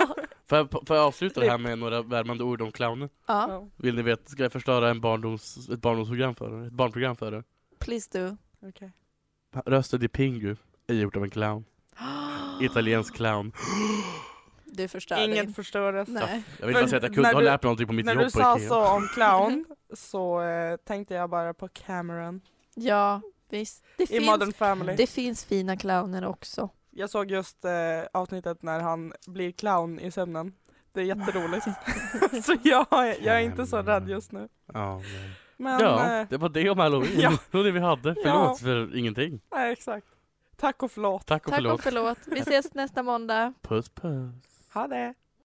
Får jag, får jag avsluta det här med några värmande ord om clowner?
ja,
Vill ni veta, ska jag förstöra en barndoms, ett barndomsprogram för er? Ett barnprogram för er?
please do.
Okej.
Rösten i Pingu är gjort av en clown. Italiensk clown.
Du förstör
Inget
dig.
förstöres.
Nej.
Jag vill bara
Men
säga att jag
när
kunde ha
du-
lärt mig någonting på mitt
När
jobb
du
på
sa
Ikea.
så om clown så eh, tänkte jag bara på Cameron
Ja, visst. Det
i
finns,
Modern Family.
det finns fina clowner också.
Jag såg just eh, avsnittet när han blir clown i sömnen. Det är jätteroligt. så jag, jag är inte så rädd just nu.
Ja, men-
Men
ja,
eh,
det var det om halloween.
Ja.
Det var det vi hade. Förlåt för ingenting.
nej, exakt. Tack och förlåt.
Tack och
Tack
förlåt.
och förlåt. Vi ses nästa måndag.
Puss puss.
Ha det.